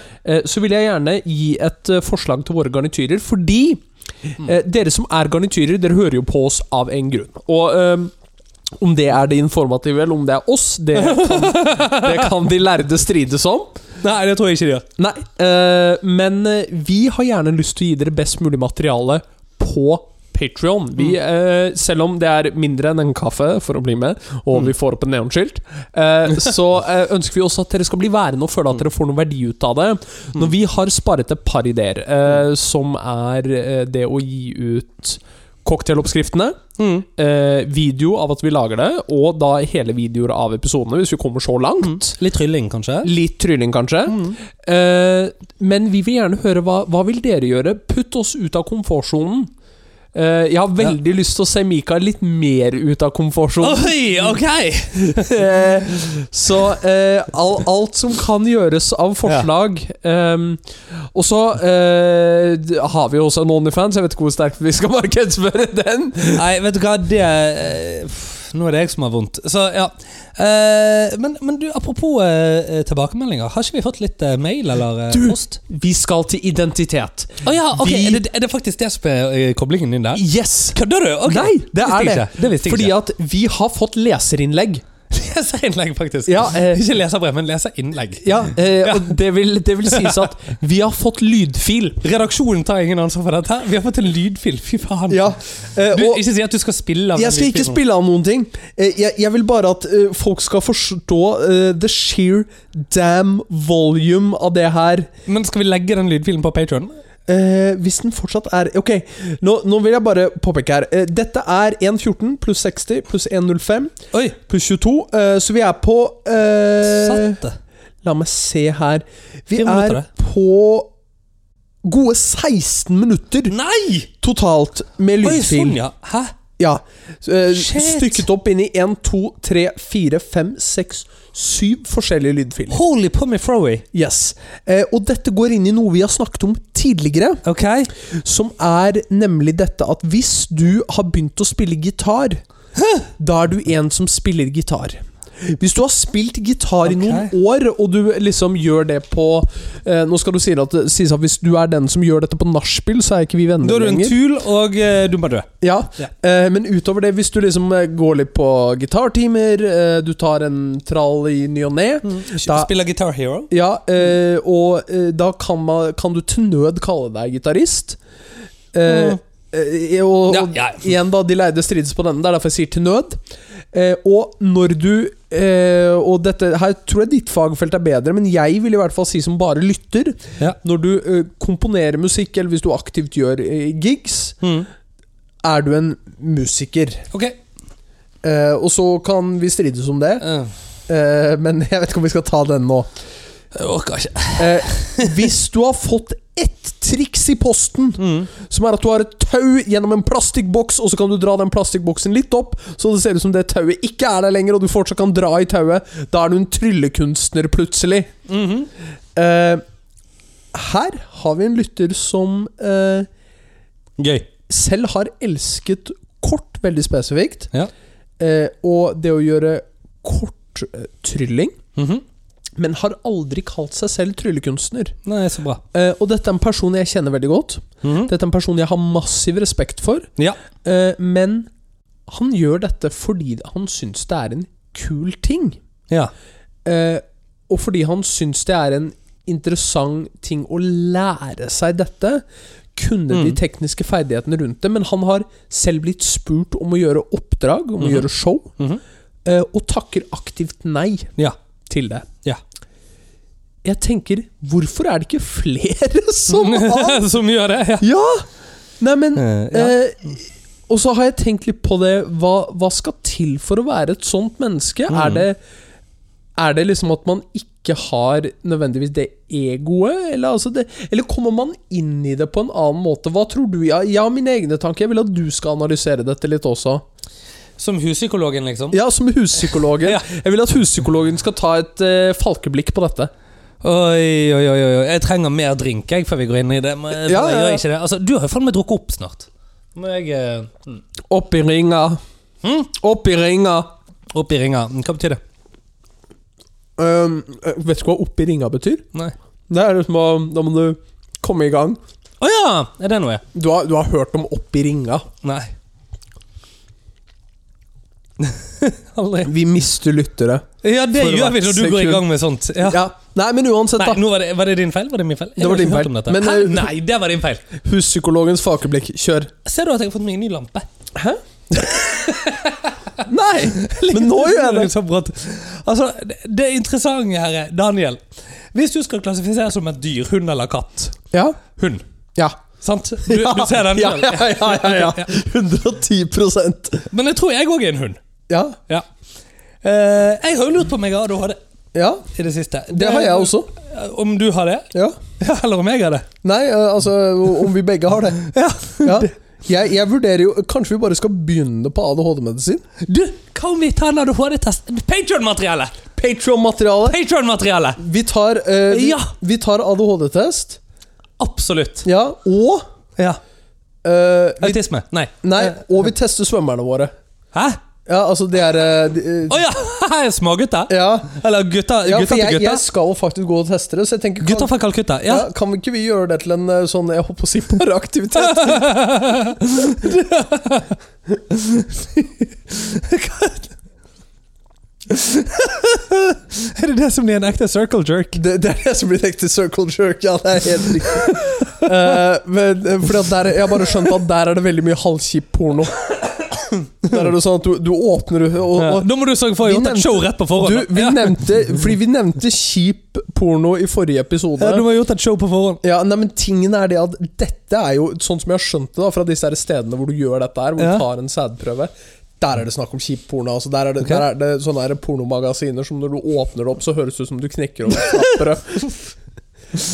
Speaker 1: så vil jeg gjerne gi et eh, forslag til våre garnityrer, fordi
Speaker 2: Mm.
Speaker 1: eh, dere som er garnityrer, dere hører jo på oss av en grunn. Og eh, om det er det informative, eller om det er oss, det
Speaker 2: (laughs)
Speaker 1: kan, det kan de lærde strides om.
Speaker 2: Nei, det tror jeg ikke de gjør.
Speaker 1: Nei, eh, men eh, vi har gjerne lyst til å gi dere best mulig materiale på Patreon. Vi, eh, selv om det er mindre enn en kaffe for å bli med, og
Speaker 2: Mm.
Speaker 1: vi får opp en neonskilt, eh, så eh, ønsker vi også at dere skal bli værende og føle at dere får noe verdi ut av det. Når vi har sparet et par ideer, eh, som er eh, det å gi ut cocktailoppskriftene, eh, video av at vi lager det, og da hele videoer av episodene, hvis vi kommer så langt.
Speaker 2: Mm. Litt trylling, kanskje?
Speaker 1: Litt trylling, kanskje.
Speaker 2: Mm.
Speaker 1: Eh, men vi vil gjerne høre hva, hva vil dere gjøre. Putt oss ut av komfortsonen. Eh, jeg har veldig lyst til å se Mikael litt mer ut av komfortsonen.
Speaker 2: Oi, ok!
Speaker 1: Eh, (laughs) så eh, all, alt som kan gjøres av forslag ehm, Og så eh, d- har vi jo også en Onlyfans. Jeg vet ikke hvor sterkt vi skal markedsføre den.
Speaker 2: Nei, vet du hva, det eh, pff, Nå er det jeg som har vondt. Så, ja. Eh, men, men du, apropos eh, tilbakemeldinger. Har ikke vi fått litt eh, mail eller eh,
Speaker 1: Du!
Speaker 2: post?
Speaker 1: Vi skal til identitet.
Speaker 2: Å ja, ok,
Speaker 1: Vi-
Speaker 2: er, det, er det faktisk det som er eh, koblingen din der?
Speaker 1: Yes!
Speaker 2: Kødder du? Ok.
Speaker 1: Nei,
Speaker 2: Visste
Speaker 1: det er
Speaker 2: jeg
Speaker 1: det.
Speaker 2: ikke. Det visste jeg
Speaker 1: Fordi
Speaker 2: ikke.
Speaker 1: at vi har fått leserinnlegg.
Speaker 2: (laughs) Leserinnlegg, faktisk.
Speaker 1: Ja, eh,
Speaker 2: ikke leserbrev, men leserinnlegg.
Speaker 1: Ja, eh, og det vil, det vil sies at vi har fått lydfil.
Speaker 2: Redaksjonen tar ingen ansvar for dette. Vi har fått en lydfil. Fy faen.
Speaker 1: eh,
Speaker 2: Du,
Speaker 1: og-
Speaker 2: ikke si at du skal spille av
Speaker 1: Jeg skal ikke spille av noen ting. Eh, Jeg, jeg vil bare at eh, folk skal forstå eh, the sheer damn volume av det her.
Speaker 2: Men skal vi legge den lydfilen på Patreon?
Speaker 1: Eh, hvis den fortsatt er Ok, nå, nå vil jeg bare påpeke her. Eh, dette er 1.14 pluss 60 pluss 1.05
Speaker 2: Oi,
Speaker 1: pluss 22, eh, så vi er på eh,
Speaker 2: satte.
Speaker 1: La meg se her. Vi
Speaker 2: Fire minutter,
Speaker 1: er på gode 16
Speaker 2: Eh,
Speaker 1: minutter
Speaker 2: Nei!
Speaker 1: totalt med
Speaker 2: Oi,
Speaker 1: lydfil.
Speaker 2: sånn, ja. Hæ?
Speaker 1: Ja. Så, eh,
Speaker 2: Shit.
Speaker 1: stykket opp inn i 1, 2, 3, 4, 5, 6, 7 forskjellige lydfiler.
Speaker 2: Holy pommy froey.
Speaker 1: Yes. Eh, og dette går inn i noe vi har snakket om tidligere,
Speaker 2: Ok.
Speaker 1: som er nemlig dette at hvis du har begynt å spille gitar, da er du en som spiller gitar. Hvis du har spilt gitar i
Speaker 2: Ok.
Speaker 1: noen år, og du liksom gjør det på eh, Nå skal du si at, sies at hvis du er den som gjør dette på nachspiel, så er ikke vi venner
Speaker 2: Da er du en
Speaker 1: lenger.
Speaker 2: tul, og eh, du må dø.
Speaker 1: Ja, eh, men utover det, hvis du liksom eh, går litt på gitartimer, eh, du tar en trall i ny og ne
Speaker 2: Mm,
Speaker 1: Da-
Speaker 2: Spiller Guitar Hero.
Speaker 1: Ja, eh, og eh, da kan, man, kan du til nød kalle deg gitarist. Eh,
Speaker 2: Mm.
Speaker 1: eh, og, og
Speaker 2: Ja, ja.
Speaker 1: igjen, da, de lærde strides på denne, det er derfor jeg sier til nød. Eh, og når du eh, Og dette her tror jeg ditt fagfelt er bedre, men jeg vil i hvert fall si som bare lytter,
Speaker 2: Ja.
Speaker 1: når du eh, komponerer musikk, eller hvis du aktivt gjør eh, gigs,
Speaker 2: Mm.
Speaker 1: er du en musiker.
Speaker 2: Ok.
Speaker 1: Eh, og så kan vi strides om det,
Speaker 2: Eh,
Speaker 1: eh, men jeg vet ikke om vi skal ta den nå.
Speaker 2: jeg orker ikke.
Speaker 1: Eh, hvis du har fått ett triks i posten,
Speaker 2: Mm.
Speaker 1: som er at du har et tau gjennom en plastikkboks, og så kan du dra den plastikkboksen litt opp, så det ser ut som det tauet ikke er der lenger, og du fortsatt kan dra i tauet, da er du en tryllekunstner plutselig.
Speaker 2: Mhm.
Speaker 1: Eh, her har vi en lytter som eh,
Speaker 2: Gøy.
Speaker 1: selv har elsket kort veldig spesifikt.
Speaker 2: Ja.
Speaker 1: Eh, og det å gjøre korttrylling, men har aldri kalt seg selv tryllekunstner.
Speaker 2: Nei, så bra.
Speaker 1: Eh, og dette er en person jeg kjenner veldig godt. Dette er en person jeg har massiv respekt for.
Speaker 2: Ja.
Speaker 1: Eh, men han gjør dette fordi han syns det er en kul ting.
Speaker 2: ja.
Speaker 1: Eh, og fordi han syns det er en interessant ting å lære seg dette. Kunne
Speaker 2: Mm.
Speaker 1: de tekniske ferdighetene rundt det, men han har selv blitt spurt om å gjøre oppdrag, om å gjøre show,
Speaker 2: Mhm.
Speaker 1: eh, og takker aktivt nei
Speaker 2: Ja.
Speaker 1: til det.
Speaker 2: Ja.
Speaker 1: Jeg tenker, hvorfor er det ikke flere (laughs)
Speaker 2: (laughs)
Speaker 1: som har
Speaker 2: Som gjør det. Ja.
Speaker 1: Ja! Nei, men
Speaker 2: Eh, ja.
Speaker 1: eh, Og så har jeg tenkt litt på det. Hva, hva skal til for å være et sånt menneske?
Speaker 2: Mm.
Speaker 1: Er, det, er det liksom at man ikke har nødvendigvis det egoet? Eller, altså det, eller kommer man inn i det på en annen måte? Hva tror du? Jeg, jeg har mine egne tanker. Jeg vil at du skal analysere dette litt også.
Speaker 2: Som huspsykologen, liksom.
Speaker 1: Ja, som
Speaker 2: (laughs)
Speaker 1: huspsykologen. Jeg vil at huspsykologen skal ta et eh, falkeblikk på dette.
Speaker 2: Oi, oi, oi, oi. Jeg trenger mer drink jeg, før vi går inn i det. Men, jeg-
Speaker 1: Ja, ja, ja.
Speaker 2: Jeg gjør ikke det. Altså, du har jo faen meg drukket opp snart. Må jeg eh,
Speaker 1: Opp i ringa.
Speaker 2: Hm?
Speaker 1: Opp i ringa.
Speaker 2: opp i ringa. Hva betyr det?
Speaker 1: Um, vet du hva opp i ringa betyr?
Speaker 2: Nei.
Speaker 1: Det er liksom å Da må du komme i gang.
Speaker 2: Å ja! Er det noe?
Speaker 1: Du har, du har hørt om Opp i ringa.
Speaker 2: Nei. (laughs) Aldri.
Speaker 1: Vi mister lyttere.
Speaker 2: Ja, det
Speaker 1: For
Speaker 2: gjør vi
Speaker 1: hvert
Speaker 2: når du går i
Speaker 1: sekund.
Speaker 2: gang med sånt. Ja.
Speaker 1: Ja. Nei, men uansett,
Speaker 2: Nei,
Speaker 1: da.
Speaker 2: nå var, det, var det din feil? Var det min feil? Jeg
Speaker 1: Det var
Speaker 2: har ikke
Speaker 1: din
Speaker 2: hørt
Speaker 1: feil.
Speaker 2: om dette.
Speaker 1: Men,
Speaker 2: Hæ?
Speaker 1: eh,
Speaker 2: (laughs) Nei, det var din feil.
Speaker 1: Huspsykologens fakeblikk. Kjør.
Speaker 2: Ser du at jeg har fått meg en ny lampe?
Speaker 1: Hæ? Nei! Men
Speaker 2: (laughs)
Speaker 1: nå gjør jeg det.
Speaker 2: Så brått. Altså, det- det interessante her er, Daniel Hvis du skal klassifiseres som et dyr, hund eller katt
Speaker 1: Ja.
Speaker 2: Hund.
Speaker 1: ja.
Speaker 2: Sant? Du, du ser den
Speaker 1: ja,
Speaker 2: selv.
Speaker 1: ja, ja,
Speaker 2: (laughs)
Speaker 1: ja, ja. 110
Speaker 2: Men jeg tror jeg òg er en hund.
Speaker 1: Ja.
Speaker 2: Ja. Eh, jeg har jo lurt på om jeg har ADHD
Speaker 1: Ja,
Speaker 2: i det siste. Eh,
Speaker 1: det har jeg også.
Speaker 2: Om du har det?
Speaker 1: Ja.
Speaker 2: Ja, eller om jeg har det?
Speaker 1: Nei, eh, altså Om vi begge har det.
Speaker 2: Ja.
Speaker 1: Ja.
Speaker 2: Det,
Speaker 1: Jeg, jeg vurderer jo Kanskje vi bare skal begynne på ADHD-medisin?
Speaker 2: Du, hva om vi tar en ADHD-test? Patron-materiale!
Speaker 1: Patron-materiale.
Speaker 2: Patron-materiale!
Speaker 1: Vi tar, eh, vi,
Speaker 2: Ja.
Speaker 1: vi tar ADHD-test.
Speaker 2: Absolutt.
Speaker 1: Ja, og
Speaker 2: Ja.
Speaker 1: eh, vi,
Speaker 2: Autisme? Nei.
Speaker 1: Nei, og vi tester svømmerne våre.
Speaker 2: Hæ?
Speaker 1: Ja, altså det er eh, de, eh,
Speaker 2: Å ja! (laughs) Smågutter?
Speaker 1: ja.
Speaker 2: Eller gutter,
Speaker 1: ja,
Speaker 2: gutter
Speaker 1: for
Speaker 2: til
Speaker 1: jeg, jeg
Speaker 2: gutter?
Speaker 1: skal faktisk gå og teste det, så jeg tenker
Speaker 2: Gutter
Speaker 1: kan,
Speaker 2: fra Calcutta.
Speaker 1: ja,
Speaker 2: (laughs) Ja.
Speaker 1: kan vi ikke vi gjøre det til en eh, sånn jeg håper å si paraktivitet?
Speaker 2: Er det det som blir en ekte circle jerk?
Speaker 1: Det, det er det som blir ekte circle jerk. Ja, det er helt
Speaker 2: (laughs)
Speaker 1: riktig. Eh, men, eh, fordi at der, jeg har bare skjønt at der er det veldig mye halvkjip porno. Der er det sånn at du, du åpner og,
Speaker 2: Ja.
Speaker 1: og
Speaker 2: Da må du sørge for å
Speaker 1: Vi
Speaker 2: gjøre et
Speaker 1: nevnte-
Speaker 2: show rett på
Speaker 1: du,
Speaker 2: forhånd.
Speaker 1: vi
Speaker 2: ja.
Speaker 1: nevnte, Fordi vi nevnte kjip porno i forrige episode.
Speaker 2: Ja, du må ha gjort et show på forhånd.
Speaker 1: Ja, nei, men tingen er det at Dette er jo, sånn som jeg har skjønt det da fra disse her stedene hvor du gjør dette her, hvor
Speaker 2: Ja.
Speaker 1: du tar en sædprøve Der er det snakk om kjip porno. Altså, der er det,
Speaker 2: Ok.
Speaker 1: der er det sånne her pornomagasiner som når du åpner det opp, så høres det ut som du knekker over (laughs) knappere.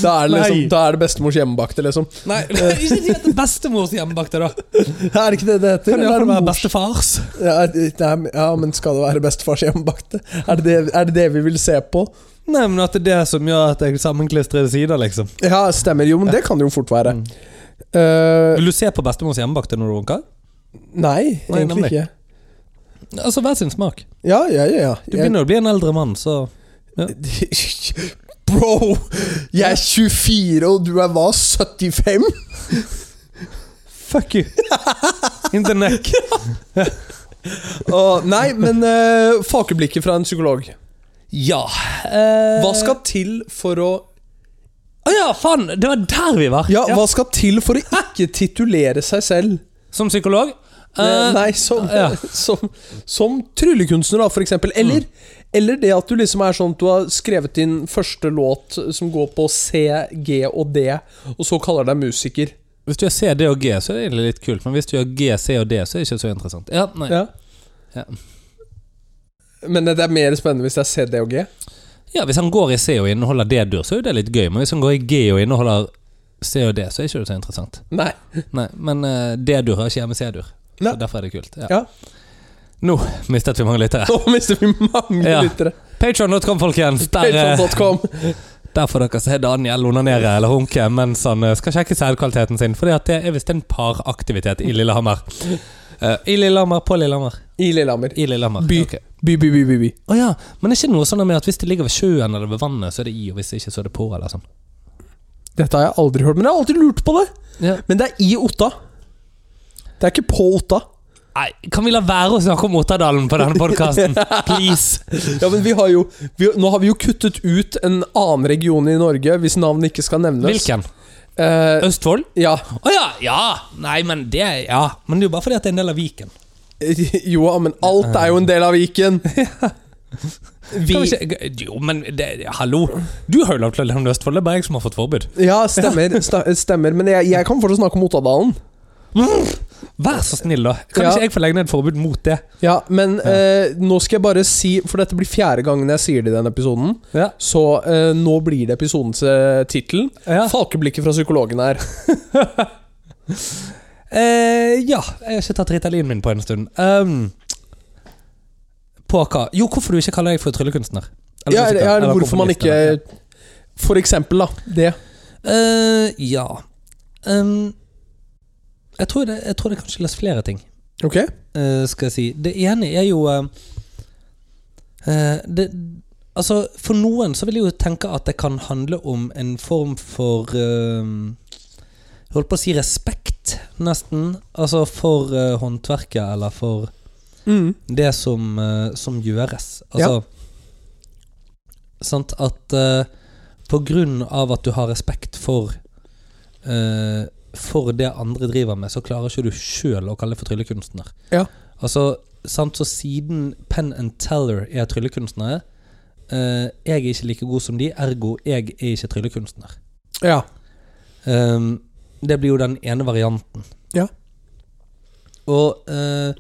Speaker 1: Da er det, liksom,
Speaker 2: Nei.
Speaker 1: da er det bestemors hjemmebakte, liksom.
Speaker 2: Nei, (laughs) ikke si at det er bestemors hjemmebakte, da.
Speaker 1: Er det ikke det det heter?
Speaker 2: Kan det i hvert fall
Speaker 1: Eller er det
Speaker 2: være
Speaker 1: mors-
Speaker 2: bestefars?
Speaker 1: ja, det- det er- ja, men skal det være bestefars hjemmebakte? Er det det, er det det vi vil se på?
Speaker 2: Nei, men at det er det som gjør at jeg sammenklistrede sider, liksom.
Speaker 1: Ja, stemmer. Jo, men det kan det jo fort være. Eh,
Speaker 2: Vil du se på bestemors hjemmebakte når du runker?
Speaker 1: nei,
Speaker 2: Nei,
Speaker 1: egentlig
Speaker 2: nemlig.
Speaker 1: ikke.
Speaker 2: Altså, hver sin smak.
Speaker 1: Ja, ja, ja. ja.
Speaker 2: Du
Speaker 1: Jeg-
Speaker 2: begynner å bli en eldre mann, så
Speaker 1: (laughs) Bro, jeg er 24, og du er hva, 75?
Speaker 2: (laughs) Fuck you! In the neck.
Speaker 1: Å, nei, men uh, fakeblikket fra en psykolog.
Speaker 2: Ja eh,
Speaker 1: Hva skal til for å
Speaker 2: Å ja, faen! Det var der vi var!
Speaker 1: Ja, hva skal til for å ikke titulere seg selv?
Speaker 2: Som psykolog?
Speaker 1: Eh,
Speaker 2: Eh,
Speaker 1: nei, som,
Speaker 2: ja.
Speaker 1: (laughs) som, som tryllekunstner, da, for eksempel. Eller, eller det at du liksom er sånn at du har skrevet din første låt som går på C, G og D, og så kaller deg musiker.
Speaker 2: Hvis du gjør C, D og G, så er det egentlig litt kult. Men hvis du gjør G, C og D, så er det ikke så interessant. Ja, nei.
Speaker 1: Ja.
Speaker 2: Ja.
Speaker 1: Men det er mer spennende hvis det er C, D og G.
Speaker 2: Ja, Hvis han går i C og inneholder D-dur, så er jo det litt gøy. Men hvis han går i G og inneholder C og D, så er ikke det så interessant.
Speaker 1: Nei.
Speaker 2: Nei, Men eh, D-dur har ikke hjemme C-dur.
Speaker 1: Nei.
Speaker 2: Så Derfor er det kult. Ja.
Speaker 1: Ja.
Speaker 2: Nå mistet vi mange lyttere.
Speaker 1: Nå mister vi mange
Speaker 2: Ja.
Speaker 1: lyttere.
Speaker 2: Patron.com, folkens. Der, eh,
Speaker 1: Patreon.com.
Speaker 2: der får dere se Daniel onanere eller hunke mens han eh, skal sjekke sædkvaliteten sin. Fordi at det er visst en paraktivitet i Lillehammer. Eh, I Lillehammer, på Lillehammer.
Speaker 1: I Lillehammer.
Speaker 2: I Lillehammer.
Speaker 1: By.
Speaker 2: Ok.
Speaker 1: By, by, by, by, by.
Speaker 2: Å ja, men er ikke noe sånn med at hvis det ligger ved sjøen eller ved vannet, så er det i, og hvis det ikke, så er det på, eller sånn?
Speaker 1: Dette har jeg aldri hørt, men jeg har alltid lurt på det. Men det er i Otta. Det er ikke på Otta.
Speaker 2: Nei, kan vi la være å snakke om Otterdalen på denne podkasten?
Speaker 1: (laughs)
Speaker 2: Please!
Speaker 1: Ja, men vi har jo, vi, Nå har vi jo kuttet ut en annen region i Norge hvis navnet ikke skal nevnes.
Speaker 2: Hvilken?
Speaker 1: Eh,
Speaker 2: Østfold?
Speaker 1: ja. (laughs)
Speaker 2: Å ja! Ja! Nei, men det er- Ja. Men det er jo bare fordi at det er en del av Viken.
Speaker 1: Jo, ja, men alt er jo en del av Viken.
Speaker 2: Kan
Speaker 1: Vi,
Speaker 2: vi ikke, jo, men det, hallo! Du har jo lov til å nevne Østfold, det er bare jeg som har fått forbud.
Speaker 1: (laughs) ja, (laughs) stemmer. sta- Stemmer. Men jeg, jeg kan fortsatt snakke om Ottadalen.
Speaker 2: Vær så snill, da! Kan
Speaker 1: Ja.
Speaker 2: ikke jeg få legge ned et forbud mot det?
Speaker 1: Ja, men eh, nå skal jeg bare si For dette blir fjerde gangen jeg sier det i denne episoden.
Speaker 2: Ja.
Speaker 1: Så eh, nå blir det episodens eh, tittel.
Speaker 2: Ja.
Speaker 1: Falkeblikket fra psykologen her.
Speaker 2: Eh, ja, jeg har ikke tatt Ritalin min på en stund. Um, på hva? Jo, hvorfor du ikke kaller deg for tryllekunstner?
Speaker 1: Ja,
Speaker 2: musiker,
Speaker 1: ja, eller hvorfor man
Speaker 2: komponist,
Speaker 1: ikke eh,
Speaker 2: eller-
Speaker 1: For eksempel, da. Det.
Speaker 2: Eh, ja. Um, jeg, tror det, jeg tror det kan skyldes flere ting,
Speaker 1: Ok?
Speaker 2: eh, skal jeg si. Det ene er jo eh, eh, det, Altså, for noen så vil jeg jo tenke at det kan handle om en form for eh, Jeg holdt på å si respekt, nesten. Altså for eh, håndverket, eller for
Speaker 1: Mm.
Speaker 2: det som, eh, som gjøres. Altså Sant at eh, på grunn av at du har respekt for eh, For det andre driver med, så klarer ikke du sjøl å kalle det for tryllekunstner.
Speaker 1: Ja.
Speaker 2: Altså, sant, så siden Penn and Teller er tryllekunstnere eh, Jeg er ikke like god som de, ergo jeg er ikke tryllekunstner.
Speaker 1: Ja.
Speaker 2: Ehm, det blir jo den ene varianten.
Speaker 1: Ja.
Speaker 2: Og eh,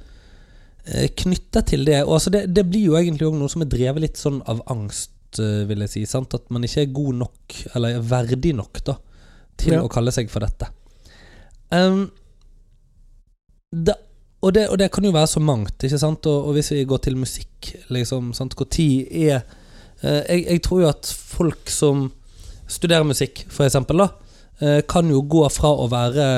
Speaker 2: eh, knyttet til det og altså det, det blir jo egentlig også noe som er drevet litt sånn av angst, eh, vil jeg si. Sant? At man ikke er god nok, eller er verdig nok, da, til
Speaker 1: Ja.
Speaker 2: å kalle seg for dette. Ehm, det, og, det, og det kan jo være så mangt, ikke sant? Og, og hvis vi går til musikk, liksom, sant? Hvor tid er eh, jeg, jeg tror jo at folk som studerer musikk, for eksempel, da, eh, kan jo gå fra å være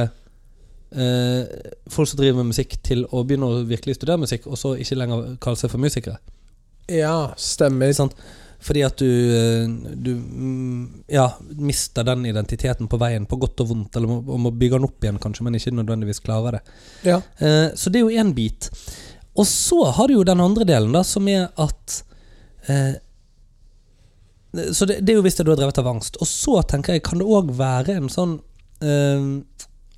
Speaker 2: eh, folk som driver med musikk, til å begynne å virkelig studere musikk, og så ikke lenger kalle seg for musikere.
Speaker 1: Ja, stemmer.
Speaker 2: Sant? Fordi at du, eh, du mm, ja, mister den identiteten på veien, på godt og vondt, eller må, og må bygge den opp igjen, kanskje, men ikke nødvendigvis klarer det.
Speaker 1: Ja.
Speaker 2: Eh, Så det er jo én bit. Og så har du jo den andre delen, da, som er at eh, Så det, det er jo hvis det du har drevet av angst. Og så tenker jeg, kan det òg være en sånn eh,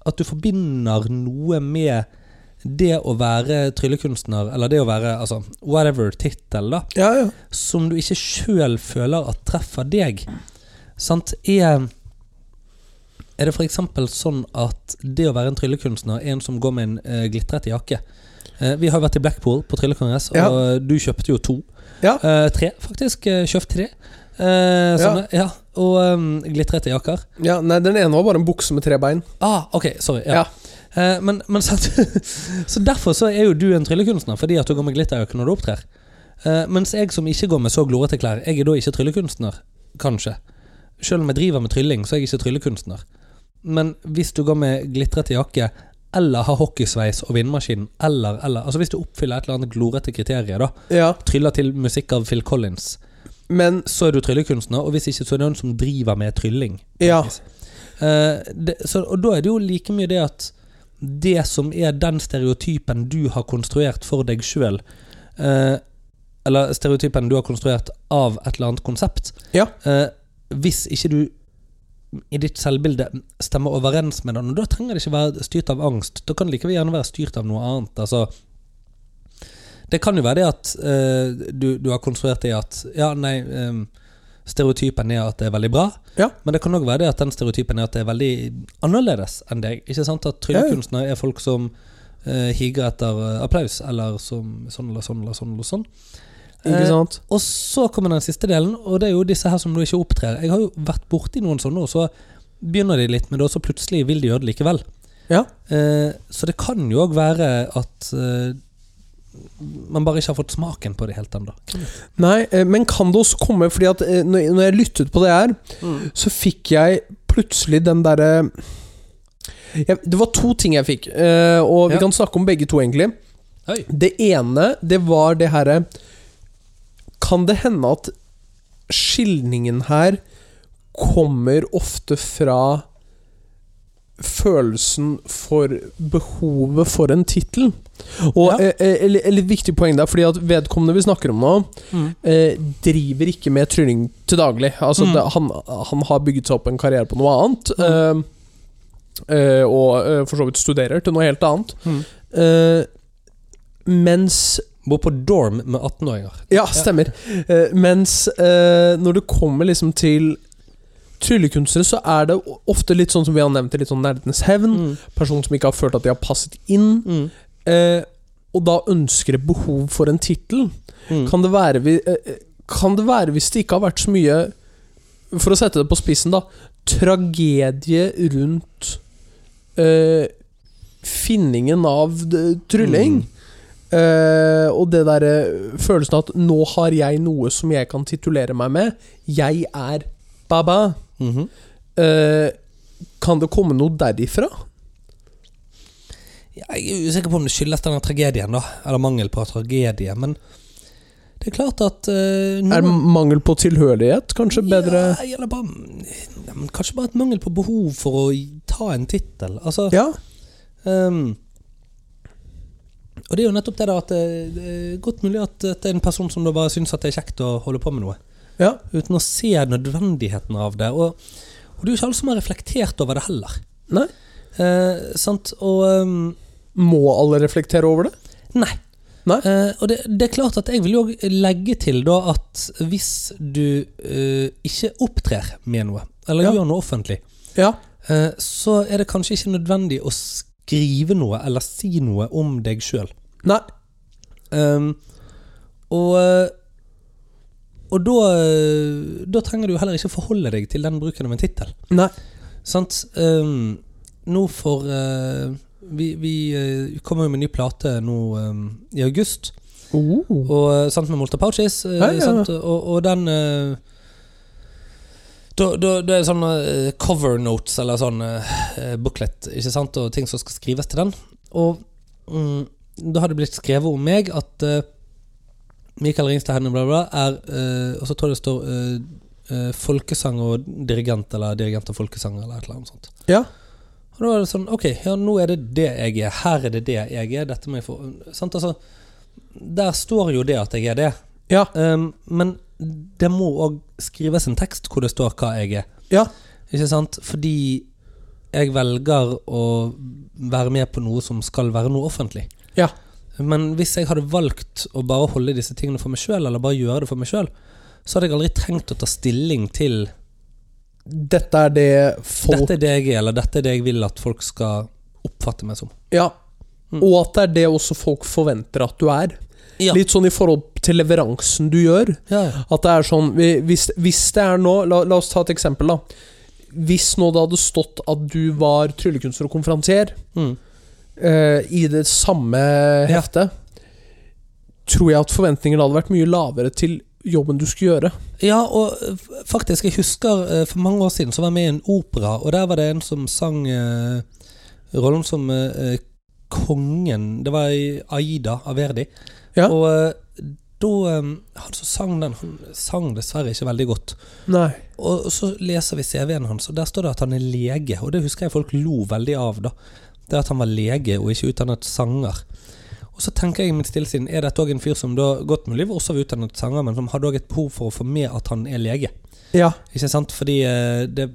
Speaker 2: At du forbinder noe med det å være tryllekunstner, eller det å være altså, whatever tittel, da
Speaker 1: Ja, ja.
Speaker 2: som du ikke sjøl føler at treffer deg, sant, er Er det f.eks. sånn at det å være en tryllekunstner er en som går med en eh, glitrete jakke? Eh, vi har vært i Blackpool på tryllekongress, og
Speaker 1: Ja.
Speaker 2: du kjøpte jo to.
Speaker 1: Ja.
Speaker 2: Eh, tre, faktisk. eh, Kjøpt tre. Eh, sånne, ja. Og em, glitrete jakker.
Speaker 1: ja nei, den ene var bare en bukse med tre bein.
Speaker 2: Ah, ok, sorry. Ja. Eh, men, men så, (laughs) så derfor så er jo du en tryllekunstner, fordi at du går med glitterjakke når du opptrer. Eh, mens jeg som ikke går med så glorete klær, jeg er da ikke tryllekunstner, kanskje. Selv om jeg driver med trylling, så er jeg ikke tryllekunstner. Men hvis du går med glitrete jakke, eller har hockeysveis og vindmaskin, eller, eller Altså hvis du oppfyller et eller annet glorete kriterium, da.
Speaker 1: Ja,
Speaker 2: Tryller til musikk av Phil Collins,
Speaker 1: men
Speaker 2: så er du tryllekunstner, og hvis ikke, så er det noen som driver med trylling.
Speaker 1: Ja.
Speaker 2: Eh, det, så, og da er det jo like mye det at det som er den stereotypen du har konstruert for deg sjøl, Eh, eller stereotypen du har konstruert av et eller annet konsept
Speaker 1: Ja.
Speaker 2: eh, Hvis ikke du i ditt selvbilde stemmer overens med den, og da trenger det ikke være styrt av angst. Da kan det likevel gjerne være styrt av noe annet. Altså, det kan jo være det at eh, du, du har konstruert det at Ja, nei, eh, stereotypen er at det er veldig bra. Men det kan òg være det at den stereotypen er at det er veldig annerledes enn deg. Ikke sant? At tryllekunstnere er folk som eh, higer etter eh, applaus, eller som sånn eller sånn eller sånn. Eller sånn.
Speaker 1: ikke
Speaker 2: Eh,
Speaker 1: sant?
Speaker 2: og så kommer den siste delen, og det er jo disse her som du ikke opptrer. Jeg har jo vært borti noen sånne, og så begynner de litt med det, og så plutselig vil de gjøre det likevel.
Speaker 1: Ja.
Speaker 2: Eh, så det kan jo òg være at eh, man bare ikke har fått smaken på det helt ennå.
Speaker 1: Nei, eh, men kan det også komme Fordi at eh, når når jeg lyttet på det her, så fikk jeg plutselig den derre jeg, Det var to ting jeg fikk, eh, og vi
Speaker 2: Ja.
Speaker 1: kan snakke om begge to, egentlig.
Speaker 2: Oi.
Speaker 1: Det ene, det var det herre Kan det hende at skilningen her kommer ofte fra følelsen for behovet for en tittel? Og
Speaker 2: Ja.
Speaker 1: eh, eh, eller- eller et viktig poeng der, fordi at vedkommende vi snakker om nå, eh, driver ikke med trylling til daglig. Altså,
Speaker 2: Mm.
Speaker 1: det, han, han har bygget seg opp en karriere på noe annet.
Speaker 2: Mm.
Speaker 1: eh, eh, og eh, for så vidt studerer til noe helt annet.
Speaker 2: Mm.
Speaker 1: Eh, mens
Speaker 2: Bor på dorm med 18-åringer.
Speaker 1: Ja, stemmer. Eh, mens eh, når det kommer liksom til tryllekunstnere, så er det ofte litt sånn som vi har nevnt, litt sånn nerdenes hevn.
Speaker 2: Mm.
Speaker 1: Personer som ikke har følt at de har passet inn.
Speaker 2: Mm.
Speaker 1: eh, og da ønsker et behov for en tittel.
Speaker 2: Mm.
Speaker 1: Kan det være vi- eh, eh, Kan det være hvis det ikke har vært så mye For å sette det på spissen, da. Tragedie rundt eh, finningen av d- trylling. Eh, og det derre følelsen av at nå har jeg noe som jeg kan titulere meg med. Jeg er baba.
Speaker 2: Mhm.
Speaker 1: Eh, kan det komme noe derifra?
Speaker 2: Ja, Jeg er usikker på om det skyldes denne tragedien, da. Eller mangel på tragedie. Men det er klart at eh,
Speaker 1: Er
Speaker 2: noen-
Speaker 1: mangel på tilhørighet kanskje bedre?
Speaker 2: Ja, eller bare, ja, men kanskje bare et mangel på behov for å ta en tittel. Altså,
Speaker 1: Ja.
Speaker 2: ehm, og det er jo nettopp det da at det, det er godt mulig at det er en person som da bare syns at det er kjekt å holde på med noe.
Speaker 1: Ja.
Speaker 2: Uten å se nødvendigheten av det. Og, og det er jo ikke alle som har reflektert over det heller.
Speaker 1: Nei.
Speaker 2: Eh, sant? Og ehm,
Speaker 1: Må alle reflektere over det?
Speaker 2: Nei.
Speaker 1: Nei?
Speaker 2: Eh, og det, det er klart at jeg vil jo også legge til da at hvis du eh, ikke opptrer med noe, eller
Speaker 1: Ja.
Speaker 2: gjør noe offentlig,
Speaker 1: Ja.
Speaker 2: eh, så er det kanskje ikke nødvendig å skrive noe eller si noe om deg sjøl.
Speaker 1: Nei.
Speaker 2: Ehm, og eh, og da, eh, da trenger du heller ikke forholde deg til den bruken av en tittel.
Speaker 1: Nei.
Speaker 2: Sant? Ehm, nå for eh, Vi, vi eh, kommer jo med en ny plate nå eh, i august.
Speaker 1: Oh.
Speaker 2: Og eh, sant med Molta Pouches. eh,
Speaker 1: Ja, ja, ja.
Speaker 2: Sant? Og, og den eh, da, da, Det er sånne eh, cover notes, eller sånn eh, booklet, ikke sant? og ting som skal skrives til den. Og mm, da har det blitt skrevet om meg at eh, Michael Ringstad Hennie bla, bla, er eh, Og så tror jeg det står eh, eh, folkesang og dirigent, eller dirigent og folkesanger, eller et eller annet sånt.
Speaker 1: Ja.
Speaker 2: Og da var det sånn Ok, ja, nå er det det jeg er. Her er det det jeg er. Dette må jeg få Sant, altså. Der står jo det at jeg er det.
Speaker 1: Ja.
Speaker 2: Ehm, men det må òg skrives en tekst hvor det står hva jeg er.
Speaker 1: Ja.
Speaker 2: Ikke sant? Fordi jeg velger å være med på noe som skal være noe offentlig.
Speaker 1: Ja.
Speaker 2: Men hvis jeg hadde valgt å bare holde disse tingene for meg sjøl, eller bare gjøre det for meg sjøl, så hadde jeg aldri trengt å ta stilling til
Speaker 1: Dette er det folk
Speaker 2: dette er det jeg er, eller dette er det jeg vil at folk skal oppfatte meg som.
Speaker 1: Ja.
Speaker 2: Mm.
Speaker 1: Og at det er det også folk forventer at du er.
Speaker 2: Ja.
Speaker 1: Litt sånn i forhold til leveransen du gjør.
Speaker 2: Ja, ja.
Speaker 1: At det er sånn vi- Hvis, hvis det er nå la, la oss ta et eksempel, da. Hvis nå det hadde stått at du var tryllekunstner og konferansier
Speaker 2: Mm.
Speaker 1: eh, i det samme
Speaker 2: Ja.
Speaker 1: heftet, tror jeg at forventningene hadde vært mye lavere til jobben du skulle gjøre.
Speaker 2: Ja, og eh, f- faktisk, jeg husker eh, for mange år siden så var jeg med i en opera, og der var det en som sang eh, rollen som eh, eh, kongen. Det var i Aida av Verdi.
Speaker 1: Ja.
Speaker 2: Og eh, da eh, Han som sang den, han sang dessverre ikke veldig godt.
Speaker 1: Nei.
Speaker 2: Og så leser vi CV-en hans, og der står det at han er lege. Og det husker jeg folk lo veldig av, da. Det at han var lege og ikke utdannet sanger. Og så tenker jeg i mitt stille sinn, er dette òg en fyr som da godt mulig var også var utdannet sanger, men som hadde òg et behov for å få med at han er lege?
Speaker 1: Ja.
Speaker 2: Ikke sant? Fordi eh, det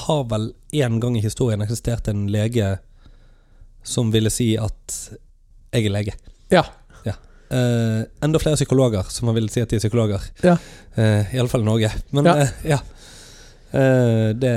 Speaker 2: har vel en gang i historien eksistert en lege som ville si at jeg er lege.
Speaker 1: Ja.
Speaker 2: Eh, enda flere psykologer som man vil si at de er psykologer.
Speaker 1: Ja.
Speaker 2: Eh, Iallfall i Norge. Men
Speaker 1: Ja.
Speaker 2: ja. ja. Eh, det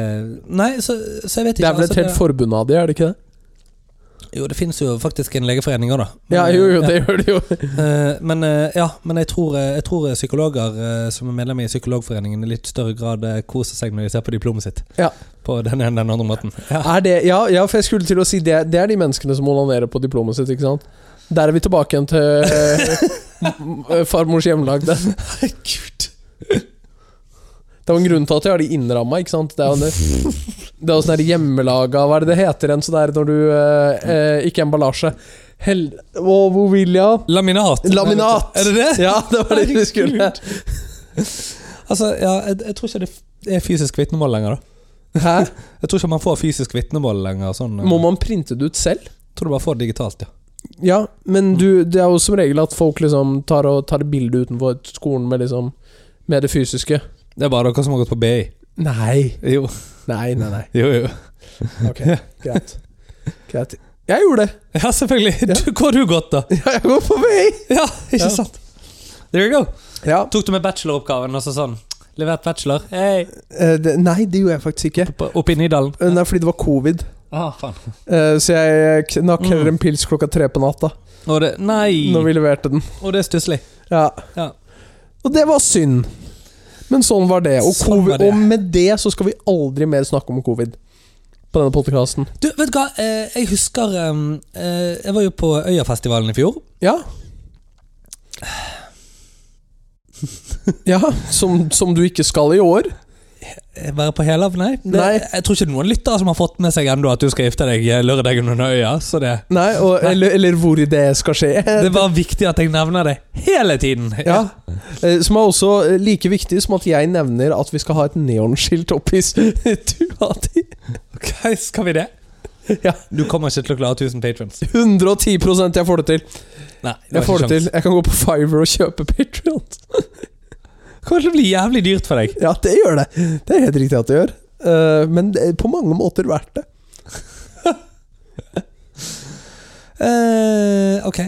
Speaker 2: Nei, så, så jeg vet
Speaker 1: Det
Speaker 2: ikke.
Speaker 1: er vel et
Speaker 2: altså,
Speaker 1: helt forbund av de, er det ikke det?
Speaker 2: det, jo, det finnes jo faktisk en legeforening òg, da. Men,
Speaker 1: Ja, jo, jo,
Speaker 2: eh,
Speaker 1: det gjør det jo.
Speaker 2: Eh, men eh, ja, men jeg tror, eh, jeg tror psykologer eh, som er medlem i Psykologforeningen, i litt større grad eh, koser seg når de ser på diplomet sitt.
Speaker 1: Ja.
Speaker 2: På den ene eller den andre måten. Ja.
Speaker 1: Er det, ja, ja, for jeg skulle til å si det, det er de menneskene som onanerer på diplomet sitt, ikke sant? Der er vi tilbake igjen til (laughs) eh, farmors hjemmelagde.
Speaker 2: Herregud.
Speaker 1: Det var en grunn til at jeg har de innramma, ikke sant? Det er jo det, det er jo sånn der hjemmelaga Hva er det det heter igjen? Så det er når du eh, eh, Ikke emballasje. Hel... Å, hvor vil jeg?
Speaker 2: Laminat.
Speaker 1: Laminat!
Speaker 2: Er det det?
Speaker 1: Ja, det var det vi skulle.
Speaker 2: Herregud. Altså, ja, jeg, jeg tror ikke det f- er fysisk vitnemål lenger, da.
Speaker 1: Hæ?
Speaker 2: Jeg tror ikke man får fysisk vitnemål lenger. Sånn, eh,
Speaker 1: Må man printe det ut selv?
Speaker 2: Jeg tror du bare får det digitalt, ja.
Speaker 1: Ja, men du, det er jo som regel at folk liksom tar, og, tar bilde utenfor skolen med liksom Med det fysiske.
Speaker 2: Det er bare dere som har gått på BI.
Speaker 1: Nei.
Speaker 2: Jo,
Speaker 1: Nei, nei, nei.
Speaker 2: jo, jo.
Speaker 1: (laughs) Ok, greit. greit. Jeg gjorde det!
Speaker 2: Ja, selvfølgelig. Du, hvor har du gått, da?
Speaker 1: (laughs) Ja, jeg går på (laughs) vei!
Speaker 2: Ja, ikke
Speaker 1: Ja.
Speaker 2: sant? There you go.
Speaker 1: Ja,
Speaker 2: Tok du med bacheloroppgaven og så sånn? Levert bachelor? Hey.
Speaker 1: eh, det, nei, det gjorde jeg faktisk ikke.
Speaker 2: Oppe, oppe i Nydalen?
Speaker 1: Eh, Nei, fordi det var covid.
Speaker 2: Ah, faen.
Speaker 1: Eh, Så jeg knakk heller en pils klokka tre på natta
Speaker 2: Og det, nei!
Speaker 1: Når vi leverte den.
Speaker 2: Og det er stusslig.
Speaker 1: Ja.
Speaker 2: Ja.
Speaker 1: Og det var synd. Men sånn var det. Og,
Speaker 2: Sånn
Speaker 1: covid,
Speaker 2: var det.
Speaker 1: og med det så skal vi aldri mer snakke om covid på denne podkasten.
Speaker 2: Du, vet du hva? Eh, Jeg husker eh, eh, Jeg var jo på Øyafestivalen i fjor.
Speaker 1: Ja. ja, som, som du ikke skal i år.
Speaker 2: Eh, Være på Helav, nei. Det,
Speaker 1: Nei.
Speaker 2: Jeg tror ikke noen lyttere som har fått med seg ennå at du skal gifte deg eh, lørdagen under øya. Så det,
Speaker 1: Nei, og,
Speaker 2: Nei.
Speaker 1: Eller, eller hvor Eh, det skal skje.
Speaker 2: det var viktig at jeg nevner det hele tiden.
Speaker 1: Ja. Eh, Som er også eh, like viktig som at jeg nevner at vi skal ha et neonskilt oppi (laughs) stua di.
Speaker 2: Ok, skal vi det?
Speaker 1: Ja.
Speaker 2: Du kommer ikke til å klare 1000
Speaker 1: (laughs)
Speaker 2: patrons.
Speaker 1: 110 jeg får det til.
Speaker 2: Nei,
Speaker 1: Jeg får det til. Jeg kan gå på Fiver og kjøpe Patrion.
Speaker 2: Det kommer til å bli jævlig dyrt for deg.
Speaker 1: Ja, det gjør det. Det er helt riktig at det gjør. Eh, men det er på mange måter verdt det.
Speaker 2: Eh, ok.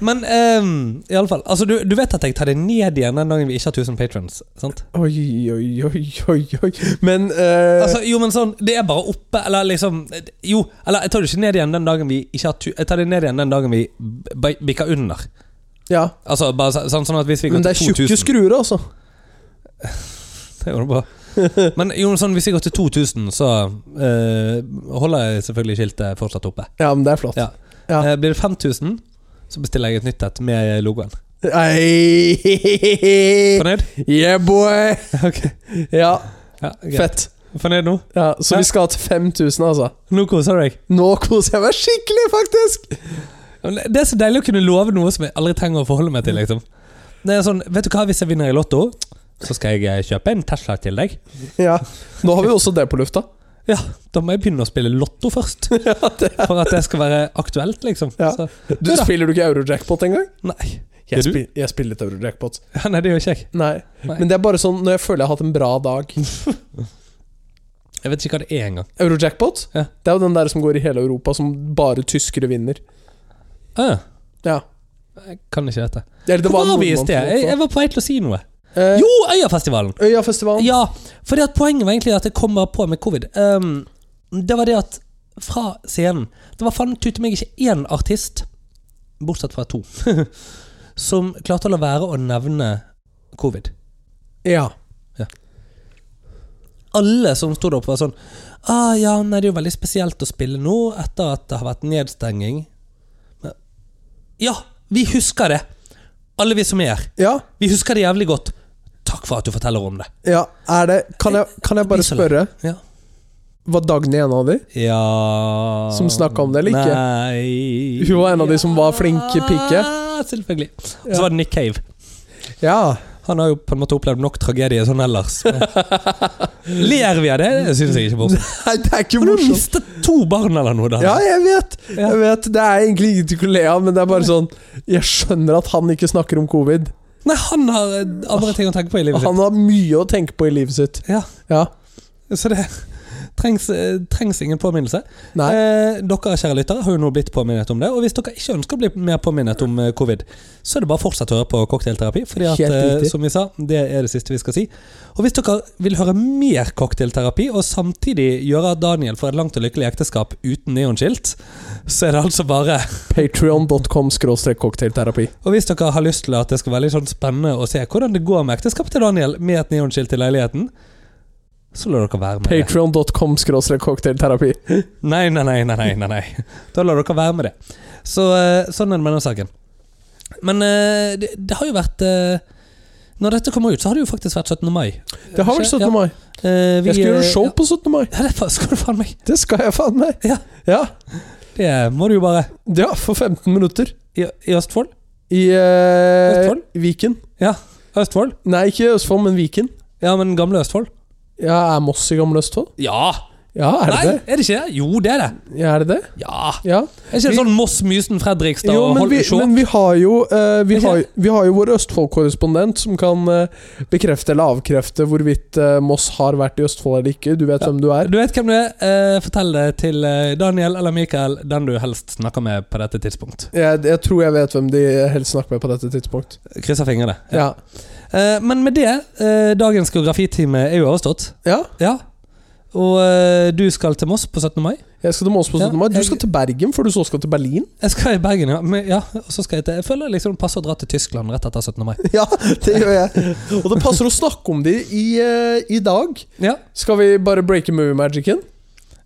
Speaker 2: Men um, iallfall altså, du, du vet at jeg tar det ned igjen den dagen vi ikke har 1000 patrons? Sant?
Speaker 1: Oi, oi, oi, oi, oi. Men eh,
Speaker 2: Altså, jo, men sånn, det er bare oppe, eller liksom Jo, eller jeg tar det ikke ned igjen den dagen vi ikke har tu Jeg tar det ned igjen den dagen vi b- b- bikker under.
Speaker 1: Ja.
Speaker 2: Altså, bare så- sånn, sånn at hvis vi
Speaker 1: Men
Speaker 2: går
Speaker 1: det er
Speaker 2: til
Speaker 1: tjukke
Speaker 2: 2000
Speaker 1: skruer, altså.
Speaker 2: (laughs) det går bra. Men jo, sånn, hvis jeg går til 2000, så eh, holder jeg selvfølgelig skiltet fortsatt oppe.
Speaker 1: Ja, men det er flott.
Speaker 2: Ja.
Speaker 1: Ja.
Speaker 2: Eh, blir det 5000, så bestiller jeg et nytt et med logoen.
Speaker 1: Ei.
Speaker 2: Fornøyd?
Speaker 1: Yeah, boy! Ja,
Speaker 2: Ja, greit.
Speaker 1: fett.
Speaker 2: Fornøyd nå?
Speaker 1: Ja, så
Speaker 2: Ja.
Speaker 1: vi skal til 5000, altså.
Speaker 2: Nå koser du deg.
Speaker 1: Nå koser jeg meg skikkelig, faktisk!
Speaker 2: Ja, men Det er så deilig å kunne love noe som jeg aldri trenger å forholde meg
Speaker 1: Mm.
Speaker 2: til. liksom Det er sånn, Vet du hva, hvis jeg vinner i Lotto, så skal jeg eh, kjøpe en Tesla til deg.
Speaker 1: Ja. Nå har vi også det på lufta.
Speaker 2: Ja, Da må jeg begynne å spille Lotto (laughs) først, for at det skal være aktuelt, liksom.
Speaker 1: Ja.
Speaker 2: Så,
Speaker 1: Du
Speaker 2: Ja da.
Speaker 1: Spiller du ikke Eurojackpot engang?
Speaker 2: nei. Gjør
Speaker 1: Jeg,
Speaker 2: du?
Speaker 1: spil jeg spiller litt Eurojackpot.
Speaker 2: Ja, nei, det gjør ikke jeg.
Speaker 1: Nei.
Speaker 2: Nei.
Speaker 1: Men det er bare sånn når jeg føler jeg har hatt en bra dag.
Speaker 2: Jeg vet ikke hva det er engang.
Speaker 1: Eurojackpot
Speaker 2: Ja.
Speaker 1: Det er jo den der som går i hele Europa, som bare tyskere vinner.
Speaker 2: Ah,
Speaker 1: Ja.
Speaker 2: jeg kan ikke dette.
Speaker 1: Eller det
Speaker 2: Hvor var
Speaker 1: en
Speaker 2: vi i
Speaker 1: nordmann
Speaker 2: sted?
Speaker 1: som
Speaker 2: Jeg,
Speaker 1: vant
Speaker 2: jeg var på vei til å si noe.
Speaker 1: da. Eh,
Speaker 2: Jo, Øyafestivalen!
Speaker 1: Øyafestivalen.
Speaker 2: Ja, fordi at poenget var egentlig at jeg kom bare på med covid. Ehm, det var det at fra scenen Det var faen tute meg ikke én artist, bortsett fra to, (laughs) som klarte å la være å nevne covid.
Speaker 1: Ja.
Speaker 2: Alle som sto der oppe, var sånn ah, ja, nei, Det er jo veldig spesielt å spille nå etter at det har vært nedstenging. Men, ja, vi husker det! Alle vi som er her.
Speaker 1: Ja.
Speaker 2: Vi husker det jævlig godt. Takk for at du forteller om det.
Speaker 1: ja. Er det Kan jeg, kan jeg bare
Speaker 2: Isolert.
Speaker 1: spørre,
Speaker 2: Ja.
Speaker 1: var Dagny en av de?
Speaker 2: Ja
Speaker 1: Som snakket om det, eller ikke?
Speaker 2: Nei
Speaker 1: Hun var en av de som var flinke pike.
Speaker 2: Ja, Selvfølgelig. Og så var det Nick Cave.
Speaker 1: Ja.
Speaker 2: Han har jo på en måte opplevd nok tragedie sånn
Speaker 1: (laughs)
Speaker 2: ellers. Men- Ler vi av det? Det syns jeg ikke er morsomt.
Speaker 1: Nei, det er ikke
Speaker 2: Har du
Speaker 1: morsomt.
Speaker 2: mistet to barn eller noe? da?
Speaker 1: Ja, jeg vet.
Speaker 2: Ja.
Speaker 1: jeg vet. Det er egentlig ingenting å le av, men det er bare sånn Jeg skjønner at han ikke snakker om covid.
Speaker 2: Nei, han har eh, andre ting å tenke på i livet
Speaker 1: Han har mye å tenke på i livet sitt.
Speaker 2: sitt. Ja,
Speaker 1: Ja.
Speaker 2: Så det trengs, eh, trengs ingen påminnelse.
Speaker 1: Nei.
Speaker 2: Eh, dere kjære lyttere har jo nå blitt påminnet om det. Og hvis dere ikke ønsker å bli mer påminnet om eh, covid, så er det bare å fortsette å høre på cocktailterapi. Fordi at,
Speaker 1: Helt
Speaker 2: eh,
Speaker 1: riktig.
Speaker 2: som vi sa, det er det siste vi skal si. Og hvis dere vil høre mer cocktailterapi, og samtidig gjøre at Daniel får et langt og lykkelig ekteskap uten neonskilt, så er det altså bare
Speaker 1: Patreon.com skråstrek cocktailterapi.
Speaker 2: Og hvis dere har lyst til at det skal være litt sånn spennende å se hvordan det går med ekteskapet til Daniel med et neonskilt i leiligheten, så lar dere være med. det.
Speaker 1: Patreon.com skråstrek cocktailterapi.
Speaker 2: Nei, nei, nei, nei, nei, nei, nei. (laughs) Da lar dere være med det. Så, eh, sånn er det med den saken. Men eh, det, det har jo vært eh, Når dette kommer ut, så har det jo faktisk vært 17. mai.
Speaker 1: Det har vært 17.
Speaker 2: Ja.
Speaker 1: mai.
Speaker 2: Eh, vi,
Speaker 1: Jeg skal
Speaker 2: eh,
Speaker 1: gjøre show
Speaker 2: Ja, (laughs)
Speaker 1: på 17. mai.
Speaker 2: ja det fa- skal du faen meg.
Speaker 1: Det skal jeg faen meg.
Speaker 2: Ja.
Speaker 1: Ja.
Speaker 2: Det må du jo bare.
Speaker 1: ja, for 15 minutter.
Speaker 2: I, i Østfold?
Speaker 1: I eh,
Speaker 2: Østfold?
Speaker 1: Viken.
Speaker 2: Ja. Østfold?
Speaker 1: Nei, ikke Østfold, men Viken.
Speaker 2: Ja, men gamle Østfold?
Speaker 1: Ja, Er Moss i Gamle Østfold?
Speaker 2: Ja!
Speaker 1: Ja, er det
Speaker 2: nei,
Speaker 1: det?
Speaker 2: er det ikke det? Jo, det er det.
Speaker 1: Ja, er det det?
Speaker 2: Ja.
Speaker 1: Ja.
Speaker 2: Er ikke det
Speaker 1: Vi-
Speaker 2: sånn Moss, Mysen, Fredrikstad
Speaker 1: Jo,
Speaker 2: og
Speaker 1: men vi,
Speaker 2: Holmsjå?
Speaker 1: men vi har jo eh, vi,
Speaker 2: Ikke
Speaker 1: har,
Speaker 2: det?
Speaker 1: vi har jo vår Østfold-korrespondent som kan eh, bekrefte eller avkrefte hvorvidt eh, Moss har vært i Østfold eller ikke. Du vet
Speaker 2: Ja.
Speaker 1: hvem du er.
Speaker 2: Du vet hvem du er. Eh, fortell det til eh, Daniel eller Mikael, den du helst snakker med på dette tidspunkt.
Speaker 1: Jeg, jeg tror jeg vet hvem de helst snakker med på dette tidspunkt.
Speaker 2: Krysser fingrene.
Speaker 1: Ja.
Speaker 2: Eh, men med det, eh, dagens geografitime er jo overstått.
Speaker 1: ja.
Speaker 2: Ja. Og eh, du skal til Moss på 17. mai.
Speaker 1: Jeg skal til Moss på
Speaker 2: Ja,
Speaker 1: 17. mai. Du
Speaker 2: jeg-
Speaker 1: skal til Bergen før du så skal til Berlin.
Speaker 2: Jeg skal i Bergen, ja. Men, ja og så skal jeg, til, jeg føler liksom det passer å dra til Tyskland rett etter
Speaker 1: (laughs)
Speaker 2: 17. mai.
Speaker 1: Ja, det gjør jeg. Og det passer å snakke om de i, eh, i dag.
Speaker 2: Ja,
Speaker 1: Skal vi bare breake movie magicen?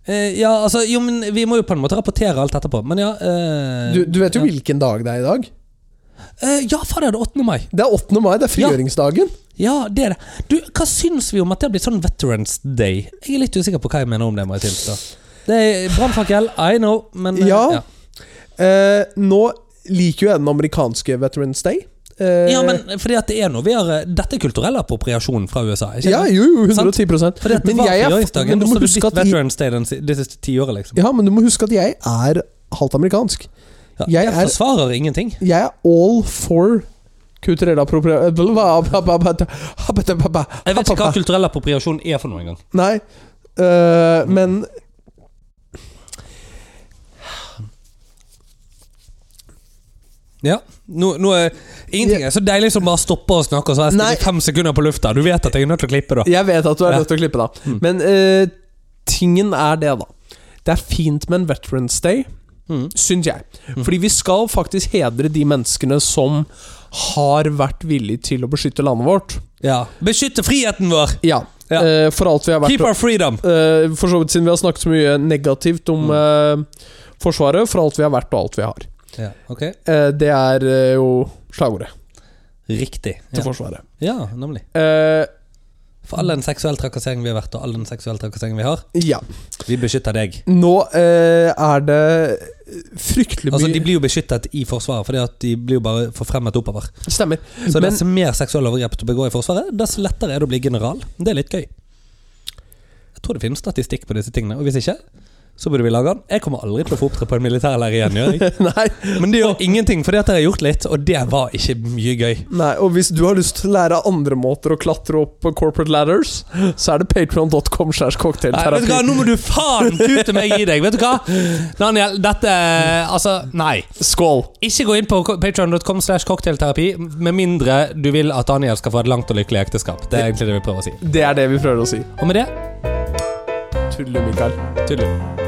Speaker 2: eh, ja altså Jo, men vi må jo på en måte rapportere alt etterpå. Men ja eh,
Speaker 1: Du, du vet jo
Speaker 2: ja.
Speaker 1: hvilken dag det er i dag.
Speaker 2: Eh, ja, faen, det er det 8. mai.
Speaker 1: Det er 8. mai. Det er
Speaker 2: Ja.
Speaker 1: frigjøringsdagen.
Speaker 2: Ja, det er det. Du, Hva syns vi om at det har blitt sånn Veterans Day? Jeg er litt usikker på hva jeg mener om det. må jeg tilstå Det er brannfakkel, I know, men eh,
Speaker 1: Ja. Eh, nå liker jo jeg den amerikanske Veterans Day. Eh,
Speaker 2: Ja, men fordi at det er noe vi har eh, Dette er kulturell appropriasjon fra USA. ikke
Speaker 1: ja,
Speaker 2: sant?
Speaker 1: jo, jo, 110
Speaker 2: Fordi at det
Speaker 1: Men
Speaker 2: var
Speaker 1: jeg er-
Speaker 2: frigjøringsdagen,
Speaker 1: men du
Speaker 2: og
Speaker 1: må
Speaker 2: så har det
Speaker 1: huske
Speaker 2: blitt
Speaker 1: at i-
Speaker 2: Veterans Day den si- det siste tiåret, liksom.
Speaker 1: Ja, men du må huske at jeg er halvt amerikansk.
Speaker 2: Ja,
Speaker 1: jeg
Speaker 2: jeg
Speaker 1: er-
Speaker 2: forsvarer ingenting.
Speaker 1: Jeg er all for kulturell appropriasjon
Speaker 2: Jeg vet ikke hva kulturell appropriasjon er for noe engang.
Speaker 1: Nei, øh, men
Speaker 2: Ja. Nå, nå er ingenting er så deilig som bare stoppe og snakke, og så har jeg
Speaker 1: Nei.
Speaker 2: stilt fem sekunder på lufta. Du vet at jeg er nødt til å klippe, da.
Speaker 1: Jeg vet at du er
Speaker 2: Ja. Mm.
Speaker 1: nødt til å klippe, eh, da. Men øh, tingen er det, da. Det er fint med en Veterans Day,
Speaker 2: Mm.
Speaker 1: syns jeg. Fordi vi skal faktisk hedre de menneskene som har vært villige til å beskytte landet vårt.
Speaker 2: Ja. Beskytte friheten vår!
Speaker 1: Ja,
Speaker 2: Ja.
Speaker 1: eh, for alt vi har vært
Speaker 2: Keep our freedom!
Speaker 1: eh, For så vidt siden vi har snakket så mye negativt om
Speaker 2: Mm.
Speaker 1: eh, Forsvaret, for alt vi har vært og alt vi har.
Speaker 2: Ja, ok.
Speaker 1: Eh, det er eh, jo slagordet
Speaker 2: Riktig.
Speaker 1: til
Speaker 2: Ja,
Speaker 1: Forsvaret.
Speaker 2: ja nemlig.
Speaker 1: Eh,
Speaker 2: For all den seksuelle trakasseringen vi har vært, og all den seksuelle trakasseringen vi har,
Speaker 1: ja.
Speaker 2: vi beskytter deg.
Speaker 1: Nå eh, er det fryktelig mye
Speaker 2: Altså, De blir jo beskyttet i Forsvaret, fordi at de blir jo bare forfremmet oppover.
Speaker 1: (laughs) Stemmer.
Speaker 2: Så
Speaker 1: Men-
Speaker 2: dess mer seksuelle overgrep du begår i Forsvaret, dess lettere er det å bli general. Det er litt gøy. Jeg tror det finnes statistikk på disse tingene, og hvis ikke, så burde vi lage den. Jeg kommer aldri til å få opptre på en militærleir igjen, gjør jeg?
Speaker 1: Nei,
Speaker 2: (laughs) Men det gjør ingenting, fordi at jeg har gjort litt, og det var ikke mye gøy.
Speaker 1: Nei, og hvis du har lyst til å lære andre måter å klatre opp på corporate ladders, så er det patreon.com slash
Speaker 2: Nei, vet du hva,
Speaker 1: cocktailterapi.
Speaker 2: Nå må du faen tute meg i deg, vet du hva? (laughs) Daniel, dette Altså, nei.
Speaker 1: Skål!
Speaker 2: Ikke gå inn på patreon.com slash cocktailterapi med mindre du vil at Daniel skal få et langt og lykkelig ekteskap. Det er egentlig det vi prøver å si.
Speaker 1: Det er det vi prøver å si.
Speaker 2: Og med det
Speaker 1: Tuller, Mikael.
Speaker 2: Tudelu.